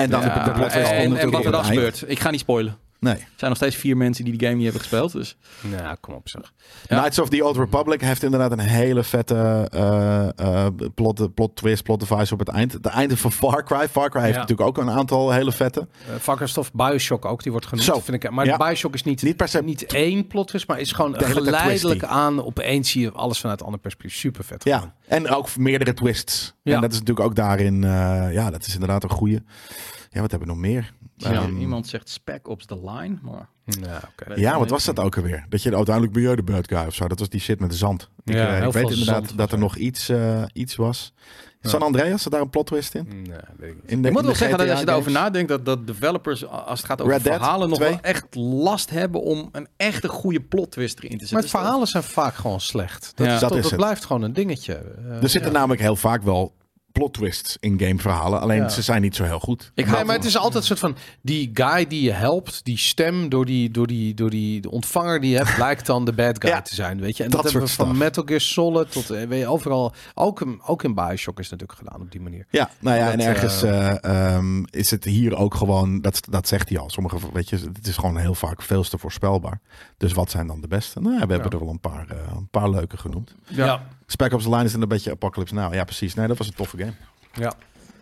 A: en dan heb ik de plot twist
D: en, en
A: natuurlijk
D: wat er dan
A: in het eind.
D: gebeurt. Ik ga niet spoilen.
A: Nee.
D: Er zijn nog steeds vier mensen die die game niet hebben gespeeld. Dus.
F: Nou, kom op zeg.
D: Ja.
A: Knights of the Old Republic heeft inderdaad een hele vette eh, eh, plot, plot twist, plot device op het eind. Het einde van Far Cry. Far Cry heeft
F: Ja.
A: natuurlijk ook een aantal hele vette.
F: Eh, Varkensstof, Bioshock ook, die wordt genoemd.
A: Zo.
F: Vind ik, maar
A: Ja.
F: Bioshock is niet,
A: Niet per se-
F: niet één plot twist, maar is gewoon
A: De hele tijd
F: geleidelijk
A: twisty.
F: aan. Opeens zie je alles vanuit een ander perspectief. Super vet.
A: Ja, en ook meerdere twists.
F: Ja.
A: En dat is natuurlijk ook daarin, eh, ja, dat is inderdaad een goeie. Ja, wat hebben we nog meer?
D: Ja,
A: Ehm,
D: iemand zegt Spec Ops The Line. Maar
F: Ja, Nou, oké.
A: ja, wat was dat ook alweer? Dat je uiteindelijk ben jij de bad guy of zo. Dat was die shit met de zand. Ik,
F: Ja,
A: eh,
F: heel
A: ik
F: veel
A: weet inderdaad
F: zand.
A: dat er nog iets, eh, iets was. San Andreas, zat daar een plot twist in?
F: Nee, weet ik niet.
A: in de,
D: Ik moet
A: in
D: wel
A: de
D: zeggen dat als je
A: GTA
D: daarover
A: games?
D: nadenkt, dat, dat developers, a- als het gaat over
A: Red Dead
D: verhalen, nog
A: 2.
D: wel echt last hebben om een echte goede plot twist erin te zetten. Dus
F: Maar het verhalen zijn vaak gewoon slecht. Dat,
D: Ja.
F: is
A: Dat
F: toch-
A: is
F: dat
A: het.
F: blijft gewoon een dingetje. Eh,
A: Er zitten namelijk heel vaak wel plot twists in gameverhalen. Alleen
F: Ja.
A: ze zijn niet zo heel goed.
D: Ik
F: nee,
D: haat
F: maar
D: hem.
F: het is altijd een soort van die guy die je helpt, die stem door die, door die, door die de ontvanger die je hebt, blijkt dan de bad guy
A: Ja,
F: te zijn, weet je. En dat,
A: dat
F: hebben we
A: soort
F: van
A: stuff.
F: Metal Gear Solid tot eh, weet je, overal, ook, in- ook in Bioshock is het natuurlijk gedaan op die manier.
A: Ja, nou ja,
F: Dat,
A: en ergens eh, ehm, is het hier ook gewoon, dat, dat zegt hij al. Sommige, weet je, het is gewoon heel vaak veel te voorspelbaar. Dus wat zijn dan de beste? Nou, ja, we hebben er wel een paar, eh, een paar leuke genoemd.
D: Ja.
A: Spec Ops The Line is dan een beetje Apocalypse Now. Ja, precies. Nee, dat was een toffe game.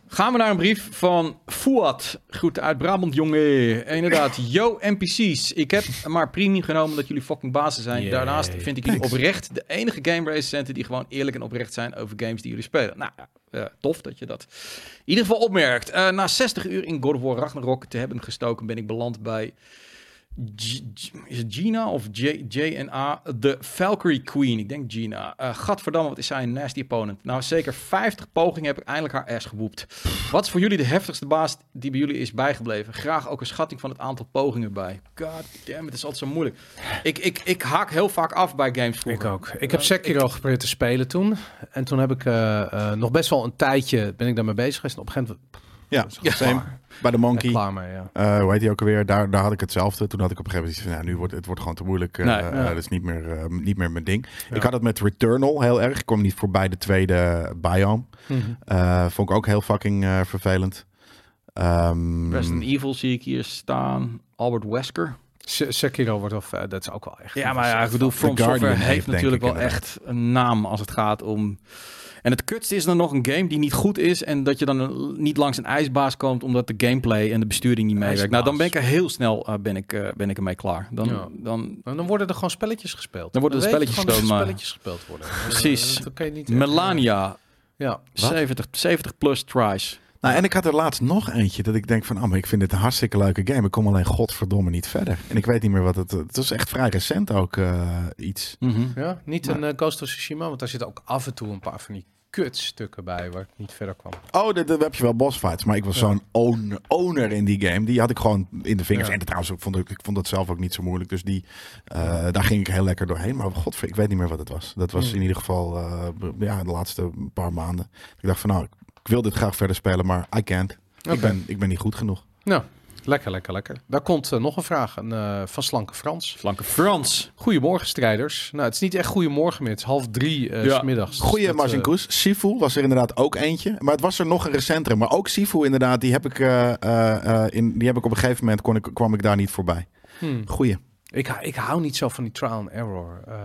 D: Gaan we naar een brief van Fuad. Goed uit Brabant, jongen. Inderdaad. Yo, NPC's. Ik heb maar premium genomen omdat jullie fucking bazen zijn.
F: Yay.
D: Daarnaast vind ik jullie
A: Thanks.
D: oprecht de enige game recensenten die gewoon eerlijk en oprecht zijn over games die jullie spelen. Nou, ja, eh, tof dat je dat in ieder geval opmerkt. Eh, na 60 uur in God of War Ragnarok te hebben gestoken, ben ik beland bij G- G- is het Gina of J- JNA? De Valkyrie Queen. Ik denk Gina. Eh gadverdamme, wat is zij een nasty opponent. Nou, zeker 50 pogingen heb ik eindelijk haar ass gewoept. Wat is voor jullie de heftigste baas die bij jullie is bijgebleven? Graag ook een schatting van het aantal pogingen bij. God damn, het is altijd zo moeilijk. Ik, ik, ik haak heel vaak af bij games vroeger.
F: Ik ook. Ik heb Sekiro geprobeerd te spelen toen. En toen heb ik eh, eh, nog best wel een tijdje ben ik daarmee bezig geweest. En op een gegeven moment
A: Ja,
F: was ik gewoon
A: same.
F: klaar.
A: Bij de
F: Echt
A: Monkey.
F: klaar mee, ja.
A: eh, hoe heet die ook alweer? Daar, daar had ik hetzelfde. Toen had ik op een gegeven moment zoiets van, nou, nu wordt het wordt gewoon te moeilijk. Eh,
D: Nee,
A: eh,
D: ja.
A: dat is niet meer, eh, niet meer mijn ding. Ik had het met Returnal heel erg. Ik kwam niet voorbij de tweede biome.
D: Mhm.
A: Eh, vond ik ook heel fucking eh, vervelend. Ehm,
D: Resident Evil zie ik hier staan. Albert Wesker.
F: Se- Sekiro wordt of dat is ook wel echt.
D: Ja, maar ja, ik bedoel, From
A: Guardian
D: Software
A: heeft,
D: heeft
A: denk
D: natuurlijk
A: ik,
D: wel
A: inderdaad.
D: echt een naam als het gaat om... En het kutste is dan nog een game die niet goed is... en dat je dan een- niet langs een ijsbaas komt... omdat de gameplay en de besturing niet meewerkt. Nou, dan ben ik er heel snel eh, ben ik, eh, ben ik ermee klaar. Dan,
F: Ja.
D: dan
F: En dan worden er gewoon spelletjes gespeeld.
D: Dan worden er
F: weet je
D: spelletjes
F: gewoon dat er spelletjes gespeeld worden.
D: Precies.
F: Eh, Dat kan je niet echt-
D: Melania,
F: Ja.
D: 70, 70 plus tries.
A: Nou, en ik had er laatst nog eentje dat ik denk van, ah, maar ik vind dit een hartstikke leuke game. Ik kom alleen godverdomme niet verder. En ik weet niet meer wat het... Het was echt vrij recent ook eh, iets.
D: Mhm.
F: Ja, niet een eh, Ghost of Tsushima, want daar zitten ook af en toe een paar van die kutstukken bij waar ik niet verder kwam.
A: Oh, daar daar heb je wel boss fights. Maar ik was zo'n owner, owner in die game. Die had ik gewoon in de vingers.
F: Ja.
A: En trouwens, ik vond, ik, ik vond dat zelf ook niet zo moeilijk. Dus die, eh, daar ging ik heel lekker doorheen. Maar godver, ik weet niet meer wat het was. Dat was in ieder geval eh, b- ja, de laatste paar maanden. Ik dacht van, nou, ik wil dit graag verder spelen, maar I can't.
F: Oké.
A: Ik, ben, ik ben niet goed genoeg.
F: Nou, lekker, lekker, lekker. Daar komt eh, nog een vraag een, eh, van Slanke Frans.
D: Slanke Frans.
F: Goedemorgen, strijders. Nou, het is niet echt goedemorgen meer. Het is half drie eh
D: Ja.
F: s middags.
A: Goeie Marcin
F: Marzinkoes.
A: Koes. Sifu was er inderdaad ook eentje. Maar het was er nog een recentere. Maar ook Sifu inderdaad, die heb ik, eh, eh, eh, in, die heb ik op een gegeven moment, kon ik, kwam ik daar niet voorbij.
F: Hmm.
A: Goeie.
F: Ik, ik hou niet zo van die trial and error. eh, eh,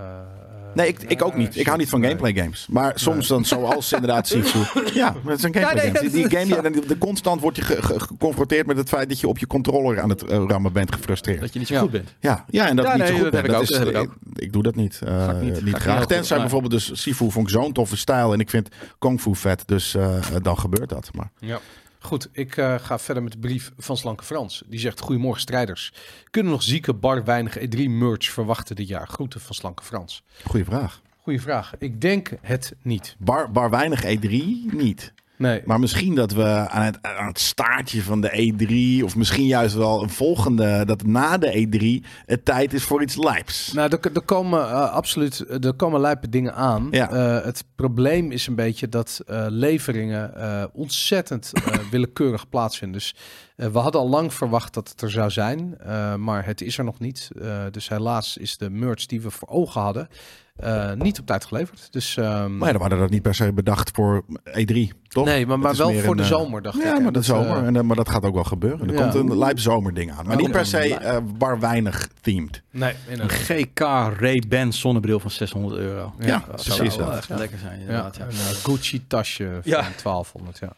A: Nee, ik, ik ook niet. Ik hou niet van gameplay games. Maar soms dan zoals inderdaad Sifu. Ja, maar het is een gameplay
D: Ja, nee,
A: game. Die,
D: dat
A: die
D: is-
A: game, ja, dan- de constant word je ge- ge- geconfronteerd met het feit dat je op je controller aan het eh, rammen bent gefrustreerd.
D: Dat je niet zo
F: Ja.
D: goed bent.
A: Ja, ja en dat
D: Ja,
A: niet
D: nee,
A: zo goed
D: dat heb
A: bent.
D: ik ook,
A: is, eh,
D: dat heb ik
A: ik, doe dat niet, eh,
D: ik niet-
A: niet,
D: ga ik
A: graag.
D: niet ook,
A: Tenzij
D: maar-
A: bijvoorbeeld dus Sifu vond ik zo'n toffe stijl en ik vind Kung Fu vet, dus eh, dan gebeurt dat. Maar
F: Ja. Goed, ik eh, ga verder met de brief van Slanke Frans. Die zegt, goedemorgen strijders. Kunnen nog zieke bar weinig E3-merch verwachten dit jaar? Groeten van Slanke Frans.
A: Goeie vraag.
F: Goeie vraag. Ik denk het niet.
A: Bar, bar weinig E3 niet.
F: Nee.
A: Maar misschien dat we aan het, aan het staartje van de E3, of misschien juist wel een volgende, dat na de E3 het tijd is voor iets lijps.
F: Nou, er, er komen eh, absoluut er komen lijpe dingen aan.
A: Ja.
F: Eh, het probleem is een beetje dat eh, leveringen eh, ontzettend eh, willekeurig plaatsvinden. Dus eh, we hadden al lang verwacht dat het er zou zijn, eh, maar het is er nog niet. Eh, dus helaas is de merch die we voor ogen hadden eh, niet op tijd geleverd. Dus, ehm,
A: maar ja, dan hadden we dat niet per se bedacht voor E3, toch?
F: nee, maar, maar
A: is
F: wel
A: meer
F: voor
A: een,
F: de
A: eh,
F: zomer, dacht ik.
A: ja,
F: hè.
A: maar dat,
F: eh,
A: zomer. En, eh, maar dat gaat ook wel gebeuren. Er
F: Ja. Nou,
A: komt een lijp zomerding aan. Maar
D: Oh,
A: niet per se
D: oké.
A: eh, bar weinig themed.
F: nee,
D: Een
F: inderdaad.
D: GK Ray-Ban zonnebril van 600 euro.
A: Ja,
D: dat
A: precies
D: zou wel
A: dat.
D: echt lekker zijn,
F: Ja, een
D: inderdaad. Ja.
F: eh, Gucci-tasje van
D: Ja.
F: 1200, ja.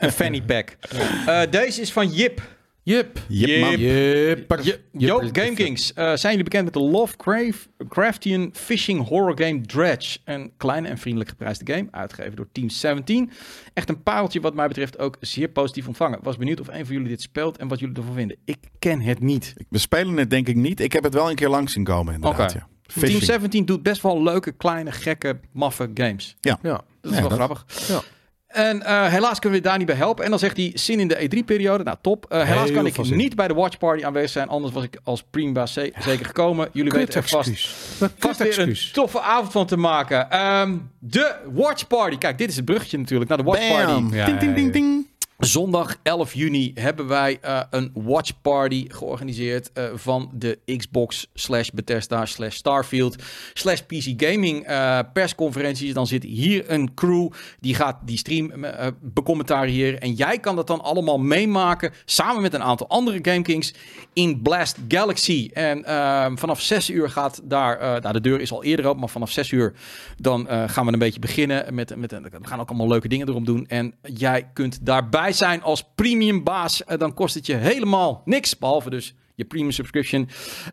D: Een fanny pack. Eh, deze is van Jip.
F: Jip.
A: Jip, man.
F: Jipper.
D: Je- Joop GameKings, eh, zijn jullie bekend met de Lovecraftian Fishing Horror Game Dredge? Een kleine en vriendelijk geprijsde game, uitgegeven door Team 17. Echt een pareltje wat mij betreft ook zeer positief ontvangen. Was benieuwd of een van jullie dit speelt en wat jullie ervan vinden. Ik ken het niet.
A: We spelen het denk ik niet. Ik heb het wel een keer langs zien komen inderdaad.
D: Oké.
A: Ja. Fishing.
D: Team 17 doet best wel leuke, kleine, gekke, maffe games.
F: Ja.
D: Dat is
A: Ja,
D: wel
A: dat-
D: grappig.
F: Ja.
D: En eh, helaas kunnen we daar niet bij helpen. En dan zegt hij zin in de E3-periode. Nou, top. Eh, helaas
F: Heel
D: kan
F: veel
D: ik
F: zin.
D: niet bij de Watch Party aanwezig zijn. Anders was ik als prima ze- zeker gekomen. Jullie weten er vast,
F: excuus. Wat
D: vast weer een
F: excuus.
D: toffe avond van te maken. Ehm, de Watch Party. Kijk, dit is het bruggetje natuurlijk naar de Watch Party.
A: Bam.
C: Ja,
A: Ding, ding, ding, ding.
D: Zondag 11 juni hebben wij eh, een watch party georganiseerd eh, van de Xbox slash Bethesda slash Starfield slash PC Gaming eh, persconferenties. Dan zit hier een crew die gaat die stream eh, becommentariëren en jij kan dat dan allemaal meemaken samen met een aantal andere GameKings in Blast Galaxy. En eh, vanaf 6 uur gaat daar, eh, nou de deur is al eerder open, maar vanaf 6 uur dan eh, gaan we een beetje beginnen. Met, met, we gaan ook allemaal leuke dingen erom doen. En jij kunt daarbij zijn als premium baas. Eh, dan kost het je helemaal niks. Behalve dus je premium subscription.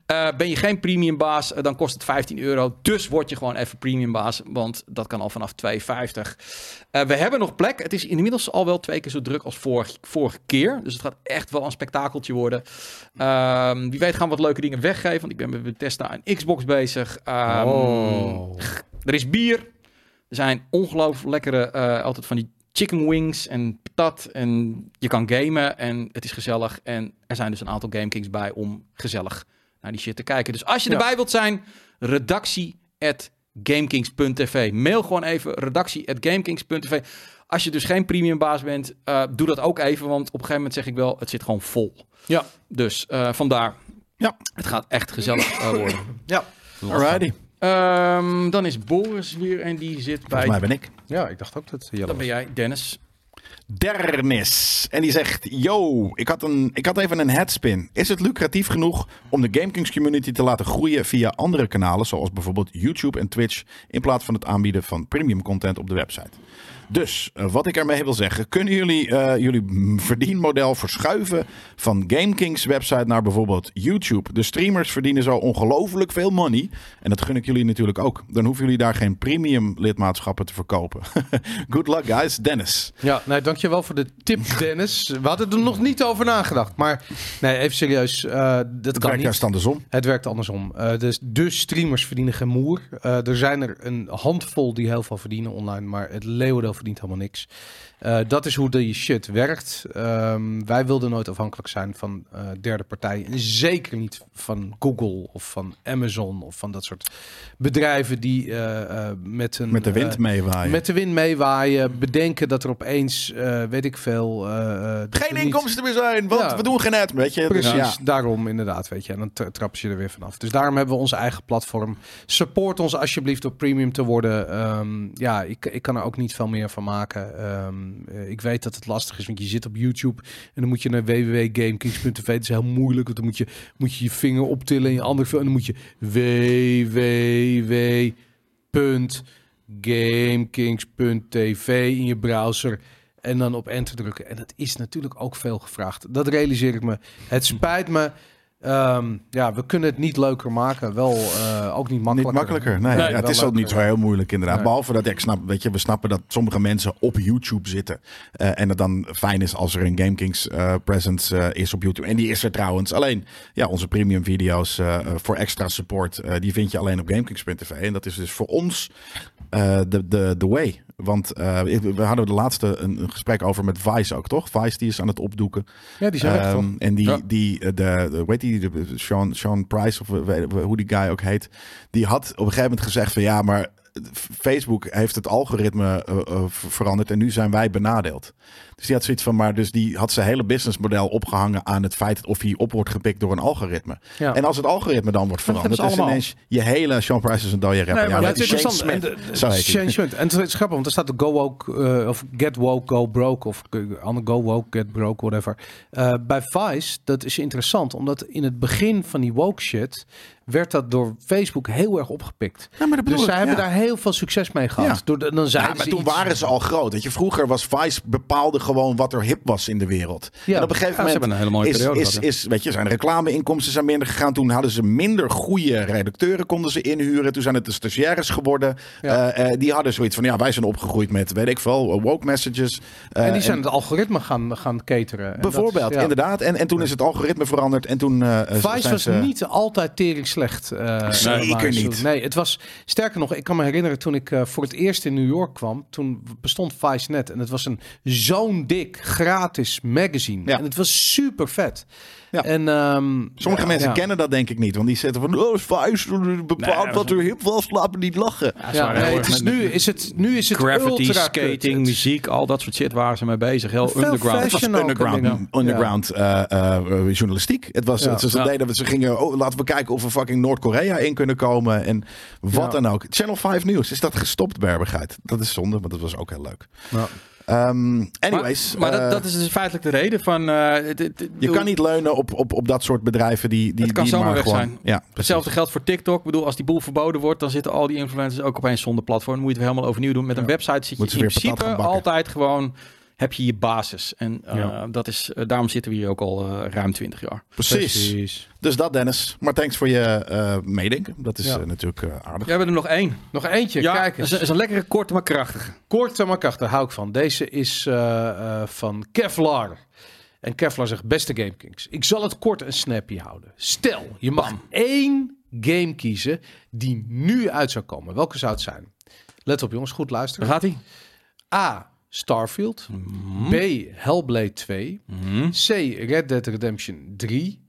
D: Eh, ben je geen premium baas, eh, dan kost het 15 euro. Dus word je gewoon even premium baas. Want dat kan al vanaf 2,50. Eh, we hebben nog plek. Het is inmiddels al wel twee keer zo druk als vorig, vorige keer. Dus het gaat echt wel een spektakeltje worden. Ehm, wie weet gaan we wat leuke dingen weggeven. Want ik ben met Bethesda en Xbox bezig. Ehm, er is bier. Er zijn ongelooflijk lekkere, eh, altijd van die chicken wings en patat. En je kan gamen en het is gezellig. En er zijn dus een aantal GameKings bij om gezellig naar die shit te kijken. Dus als je
F: Ja.
D: erbij wilt zijn, redactie at gamekings.tv. Mail gewoon even redactie at gamekings.tv. Als je dus geen premium baas bent, eh, doe dat ook even. Want op een gegeven moment zeg ik wel, het zit gewoon vol.
F: Ja.
D: Dus eh, vandaar.
A: Ja.
D: Het gaat echt gezellig eh, worden.
F: Ja.
A: Alrighty.
D: Ehm, dan is Boris weer en die zit bij...
A: Volgens mij ben ik.
F: ja, ik dacht ook dat Jelle
D: Dan ben jij, Dennis.
A: Dernis. En die zegt: Yo, ik had, een, ik had even een headspin. Is het lucratief genoeg om de GameKings community te laten groeien via andere kanalen, zoals bijvoorbeeld YouTube en Twitch, in plaats van het aanbieden van premium content op de website? Dus eh, wat ik ermee wil zeggen, kunnen jullie eh, jullie mm, verdienmodel verschuiven van GameKings website naar bijvoorbeeld YouTube? De streamers verdienen zo ongelooflijk veel money. En dat gun ik jullie natuurlijk ook. Dan hoeven jullie daar geen premium lidmaatschappen te verkopen. Good luck, guys. Dennis.
F: Ja, nee, dankjewel voor de tip, Dennis. We hadden er nog niet over nagedacht. Maar nee, even serieus. eh, dat
A: Het
F: kan
A: werkt
F: niet.
A: juist andersom.
F: Het werkt andersom. Eh, dus de streamers verdienen geen moer. Eh, er zijn er een handvol die heel veel verdienen online, maar het leeuwendeel verdient helemaal niks. Eh, dat is hoe die shit werkt. Ehm, wij wilden nooit afhankelijk zijn van eh, derde partijen. En zeker niet van Google of van Amazon of van dat soort bedrijven die eh, eh, met een...
A: Met de
F: eh,
A: wind meewaaien.
F: met de wind meewaaien, bedenken dat er opeens, eh, weet ik veel... eh, eh, dat
A: geen
F: er niet-
A: inkomsten meer zijn, want
F: Ja.
A: we doen geen ad, weet je. Dus
F: Precies,
A: ja.
F: daarom inderdaad, weet je. En dan tra- trappen ze je er weer vanaf. Dus daarom hebben we onze eigen platform. Support ons alsjeblieft door premium te worden. Ehm, ja, ik, ik kan er ook niet veel meer van maken. Ehm, eh, ik weet dat het lastig is, want je zit op YouTube en dan moet je naar www.gamekings.tv. Dat is heel moeilijk, want dan moet je, moet je je vinger optillen en je andere en dan moet je www.gamekings.tv in je browser en dan op enter drukken. En dat is natuurlijk ook veel gevraagd. Dat realiseer ik me. Het spijt me. Ehm, ja, we kunnen het niet leuker maken. Wel eh, ook niet
A: Niet
F: makkelijker.
A: makkelijker. Nee,
D: Nee,
A: ja, het
F: wel
A: is ook niet
F: leuker.
A: zo heel moeilijk inderdaad.
F: Nee.
A: Behalve dat ik snap, weet je, we snappen dat sommige mensen op YouTube zitten. Eh, en het dan fijn is als er een GameKings eh presence eh, is op YouTube. En die is er trouwens. Alleen, ja, onze premium video's eh, eh, voor extra support, eh, die vind je alleen op GameKings.tv. En dat is dus voor ons eh, de, de, de way. Want eh, we hadden de laatste een, een gesprek over met Vice ook, toch? Vice die is aan het opdoeken.
F: Ja, die zijn echt
A: Ehm,
F: toch?
A: En die,
D: Ja.
A: die eh, de, de- weet die, de, Sean, Sean Price, of eh, weet- hoe die guy ook heet, die had op een gegeven moment gezegd van ja, maar Facebook heeft het algoritme eh, eh, ver- veranderd en nu zijn wij benadeeld. Dus die had zoiets van, maar dus die had zijn hele businessmodel opgehangen aan het feit of hij op wordt gepikt door een algoritme.
F: Ja.
A: En als het algoritme dan wordt
D: Dat hebben
A: veranderd,
D: ze
A: is
D: allemaal.
A: ineens je hele Sean Price is een dode rapper.
D: Nee, maar
A: ja,
D: dat
A: maar
D: is
A: Shane
D: interessant.
A: Smith,
F: En de-
A: zo heet hij.
F: Shane Schunt. En het is grappig, want er staat de Go Woke, eh, of Get Woke, Go Broke, of eh, ander Go Woke, Get Broke, whatever. Eh, bij Vice, dat is interessant, omdat in het begin van die woke shit werd dat door Facebook heel erg opgepikt.
A: Ja, maar dat bedoel
F: Dus
A: ik,
F: zij hebben
A: ja.
F: daar heel veel succes mee gehad.
A: Ja.
F: Door de- dan
A: Ja,
F: zeiden
A: maar
F: ze
A: toen
F: iets-
A: waren ze al groot. Weet je, vroeger was Vice bepaalde gewoon wat er hip was in de wereld.
F: Ja.
A: en op een
D: Ja, ze
A: gegeven
D: hebben
A: moment
D: een hele mooie
A: is,
D: periode
A: is,
D: gehad, hè.
A: is, weet je, zijn reclameinkomsten zijn minder gegaan. Toen hadden ze minder goede redacteuren konden ze inhuren. Toen zijn het de stagiaires geworden.
F: Ja.
A: Eh, eh, die hadden zoiets van, ja, wij zijn opgegroeid met, weet ik veel, woke messages. Eh,
F: en die zijn het algoritme gaan, gaan cateren. En
A: bijvoorbeeld,
F: dat is- ja.
A: inderdaad. En, en toen is het algoritme veranderd. En toen eh,
F: Vice
A: zijn
F: was
A: ze-
F: niet altijd tering slecht. eh,
A: Zeker
F: maar zo-
A: niet.
F: Nee, het was sterker nog, ik kan me herinneren toen ik eh, voor het eerst in New York kwam. Toen bestond Vice net en het was een zo'n dik gratis magazine.
A: Ja.
F: En het was super vet.
A: Ja.
F: En, ehm,
A: Sommige
F: ja,
A: mensen
F: ja.
A: kennen dat denk ik niet. Want die zitten van, oh, Vice eh,
D: Nee, dat
A: bepaalt
D: was-
A: wat er hip was. Laat me niet lachen.
D: Ja, ze
F: Ja,
D: waren
F: nee,
D: heel
F: het
D: erg
F: is
D: met-
F: nu is het, nu is het
D: Gravity,
F: ultra kut.
D: skating,
F: Het-
D: muziek, al dat soort shit waren ze mee bezig. Heel
F: Veel
D: underground.
F: fashion.
A: was
F: ook,
A: underground,
F: denk ik.
A: underground eh, eh, journalistiek. Het was,
F: Ja.
A: ze, ze
D: Ja.
A: deden, wat ze gingen, oh, laten we kijken of we fucking Noord-Korea in kunnen komen. En wat
F: Ja.
A: dan ook. Channel 5 News, is dat gestopt, Berbigheid? Dat is zonde, want dat was ook heel leuk.
F: Ja.
A: Ehm,
D: Maar-
A: anyways.
D: maar
A: eh,
D: dat, dat is dus feitelijk de reden van... eh, het- het- het-
A: je kan niet leunen op, op, op dat soort bedrijven die, die,
D: Het kan
A: die
D: zomaar weg
A: gewoon...
D: zijn.
A: Ja, precies.
D: Hetzelfde geldt voor TikTok. Ik bedoel, als die boel verboden wordt, dan zitten al die influencers ook opeens zonder platform. Dan moet je het weer helemaal overnieuw doen. Met een website zit je in
A: Moeten ze weer patat
D: principe
A: gaan bakken.
D: altijd gewoon... Heb je je basis. En eh, dat is, eh, daarom zitten we hier ook al eh, ruim 20 jaar.
A: Precies. Dus dat, Dennis. Maar thanks voor je eh, meedenken. Dat is
F: Ja.
A: eh, natuurlijk eh, aardig.
D: We hebben er nog één.
F: Nog eentje,
D: ja,
F: kijk eens.
D: is, is een lekkere, korte, maar krachtige.
F: Korte maar krachtig, hou ik van. Deze is eh, eh, van Kevlar. En Kevlar zegt, beste GameKings, ik zal het kort en snappy houden. Stel, je mag één game kiezen die nu uit zou komen. Welke zou het zijn? Let op jongens, goed
D: Daar
F: luisteren.
D: gaat hij.
F: A. Starfield.
D: Mm-hmm. Mhm.
F: B. Hellblade 2. C. Red Dead Redemption 3.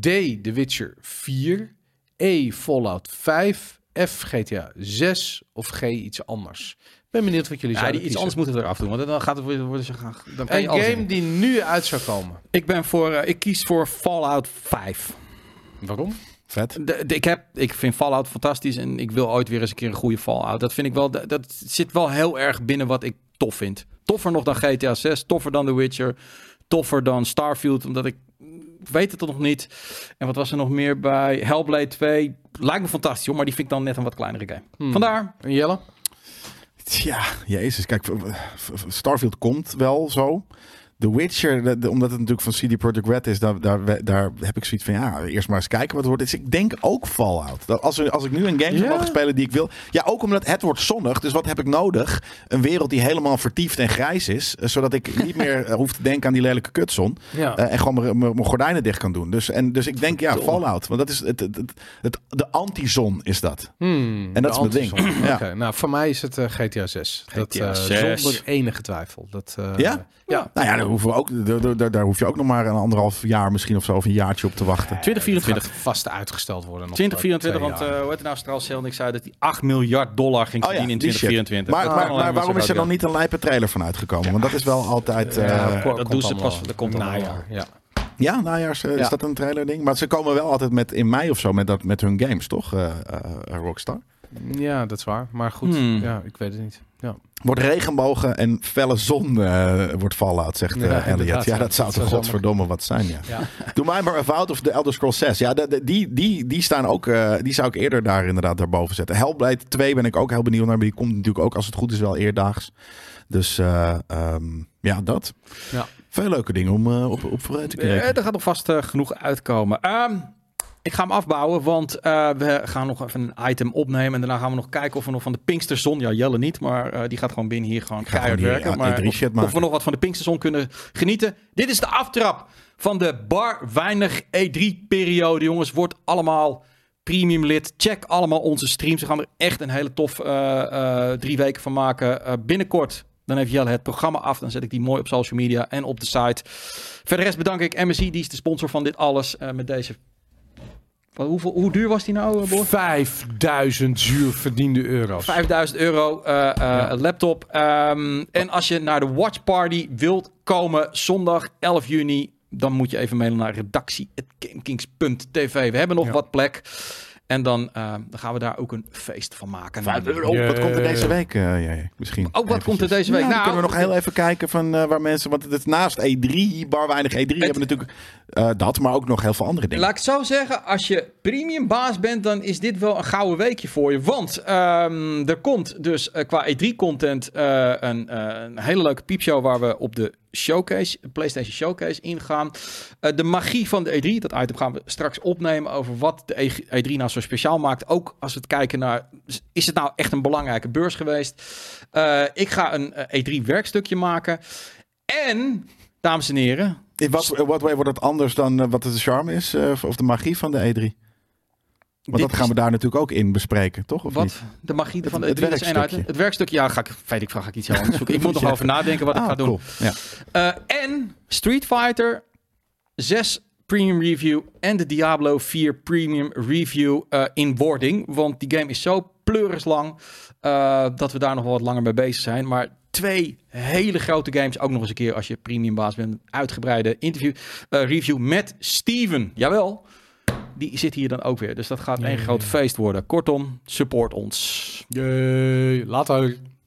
F: D. The Witcher 4. E. Fallout 5. F. GTA 6. Of G. Iets anders. Ik ben benieuwd wat jullie
D: Ja,
F: zouden
D: die, iets
F: kiezen.
D: anders moeten we eraf doen. Want dan gaat het worden, worden ze gaan. Dan kan je
F: Een
D: alles
F: game
D: in.
F: die nu uit zou komen.
D: Ik ben voor. eh, ik kies voor Fallout 5.
F: Waarom?
A: Vet.
D: De- de- ik, heb, ik vind Fallout fantastisch en ik wil ooit weer eens een keer een goede Fallout. Dat vind ik wel. Dat, dat zit wel heel erg binnen wat ik tof vind. Toffer nog dan GTA 6, toffer dan The Witcher, toffer dan Starfield, omdat ik ik weet het nog niet. En wat was er nog meer bij Hellblade 2? Lijkt me fantastisch, hoor, maar die vind ik dan net een wat kleinere game. Vandaar.
F: En Jelle?
A: Ja, jezus. Kijk, v- v- v- Starfield komt wel zo. The Witcher, de- de- omdat het natuurlijk van CD Projekt Red is, daar, daar, we- daar heb ik zoiets van, ja, eerst maar eens kijken wat het wordt. Dus ik denk ook Fallout. Dat als, er- als ik nu een game zou
F: Ja?
A: mogen spelen die ik wil. Ja, ook omdat het wordt zonnig, dus wat heb ik nodig? Een wereld die helemaal vertiefd en grijs is, eh, zodat ik niet meer eh, hoef te denken aan die lelijke kutzon.
F: Ja.
A: Eh, en gewoon mijn- mijn mijn gordijnen dicht kan doen. Dus, en, dus ik denk, ja, Fallout. Want dat is het, het, het, het- de anti-zon is dat.
F: Hmm,
A: en dat is mijn ding.
F: Oké,
A: Ja.
F: nou voor mij is het eh, GTA 6. dat,
D: GTA
F: eh,
D: 6.
F: Zonder enige twijfel. Dat, eh,
A: Ja?
F: Ja.
A: Nou ja, daar, hoeven we ook, daar- daar, daar, daar hoef je ook nog maar een anderhalf jaar misschien of zo, of een jaartje op te wachten.
D: 2024.
F: Gaat vast uitgesteld worden. nog
D: 2024,
F: twee
D: want
F: jaar.
D: eh hoe heet het nou, Straalcelnik zei dat die 8 miljard dollar ging
A: Oh ja,
D: verdienen in
A: die shit.
D: 2024.
A: Maar,
D: Dat
A: maar,
D: kan
A: maar
D: alleen
A: waarom
D: zo
A: is er
D: leuk,
A: dan niet een lijpe trailer van uitgekomen? Want dat is wel altijd... eh,
F: Ja,
A: ja,
F: ko-
D: dat
F: komt
D: doen ze
F: allemaal
D: pas-
F: wel.
D: dat komt
F: Nou,
D: allemaal wel.
F: Ja.
A: najaars eh,
F: Ja.
A: is dat een trailer ding. Maar ze komen wel altijd met in mei of zo met, dat, met hun games, toch? eh, eh, Rockstar.
F: ja, dat is waar. Maar goed,
D: Hmm.
F: ja, ik weet het niet. Ja.
A: Wordt regenbogen en felle zon eh, wordt Fallout, zegt eh,
F: Ja,
A: Elliot.
F: inderdaad,
A: Ja,
F: ja.
A: dat zou
F: Dat
A: toch
F: zou
A: godverdomme wat zijn, ja.
F: Ja.
A: Doe mij maar Avowed of The Elder Scrolls 6. Ja, de- de- die, die, die staan ook. eh, die zou ik eerder daar inderdaad daarboven zetten. Hellblade 2 ben ik ook heel benieuwd naar. Maar die komt natuurlijk ook als het goed is wel eerdaags. Dus eh, ehm, Ja, dat.
F: Ja.
A: Veel leuke dingen om eh, op, op vooruit te kijken.
D: Eh, er gaat nog vast eh, genoeg uitkomen. Ehm, ik ga hem afbouwen, want eh, we gaan nog even een item opnemen. En daarna gaan we nog kijken of we nog van de Pinksterzon... Ja, Jelle niet, maar eh, die gaat gewoon binnen hier gewoon
A: ga gewoon
D: keihard
A: hier,
D: werken.
A: ja,
D: maar
A: E3
D: of,
A: shit
D: of we
A: maken.
D: nog wat van de Pinksterzon kunnen genieten. Dit is de aftrap van de bar weinig E3-periode. Jongens, wordt allemaal premium lid. Check allemaal onze streams. We gaan er echt een hele tof eh, eh, drie weken van maken. Eh, binnenkort, dan heeft Jelle het programma af. Dan zet ik die mooi op social media en op de site. Verder rest bedank ik MSI, die is de sponsor van dit alles. eh, met deze... Wat, hoeveel, hoe duur was die nou, eh, Boor?
C: 5000 zuur verdiende euro's.
D: 5000 euro eh, eh, laptop. Ehm, en als je naar de Watch Party wilt komen zondag 11 juni, dan moet je even mailen naar redactie.gamekings.tv. We hebben nog
C: Ja.
D: wat plek. En dan, eh, dan gaan we daar ook een feest van maken.
A: Vijf
D: Nou,
A: euro, Oh, Wat
C: Ja.
A: komt er deze week? eh, ja, ja, misschien.
D: Oh, wat komt er deze week?
A: Nou,
D: Nou,
A: dan kunnen we nog heel even kijken van eh, waar mensen. Want het is naast E3, bar weinig E3, hebben natuurlijk eh, dat, maar ook nog heel veel andere dingen.
D: Laat ik het zo zeggen, als je premium baas bent, dan is dit wel een gouden weekje voor je. Want ehm, er komt dus eh, qua E3-content eh, een, eh, een hele leuke piepshow waar we op de showcase, de PlayStation Showcase, ingaan. Eh, de magie van de E3, dat item gaan we straks opnemen over wat de E3 nou zo speciaal maakt. Ook als we het kijken naar, is het nou echt een belangrijke beurs geweest? Eh, ik ga een E3-werkstukje maken. En, dames en heren,
A: In wat, in wat way wordt het anders dan eh, wat de charme is? eh, of de magie van de E3? Want
D: Dit
A: dat gaan we daar natuurlijk ook in bespreken, toch? Of niet?
D: Wat? De magie van de
A: het
D: het werkstukje.
A: werkstukje.
D: Het werkstukje, ja, ga ik, weet ik, vraag ik iets heel anders zoeken. Ik moet nog
A: Ja.
D: over nadenken wat ik
A: Ah,
D: ga doen.
A: cool. Ja.
D: Eh, en Street Fighter 6 Premium Review en de Diablo 4 Premium Review eh, in wording. Want die game is zo pleurislang eh, dat we daar nog wel wat langer mee bezig zijn. Maar twee hele grote games, ook nog eens een keer als je premium baas bent. een Uitgebreide interview, eh, review met Steven. Jawel, die zit hier dan ook weer. Dus dat gaat één groot feest worden. Kortom, support ons.
C: Jee, later.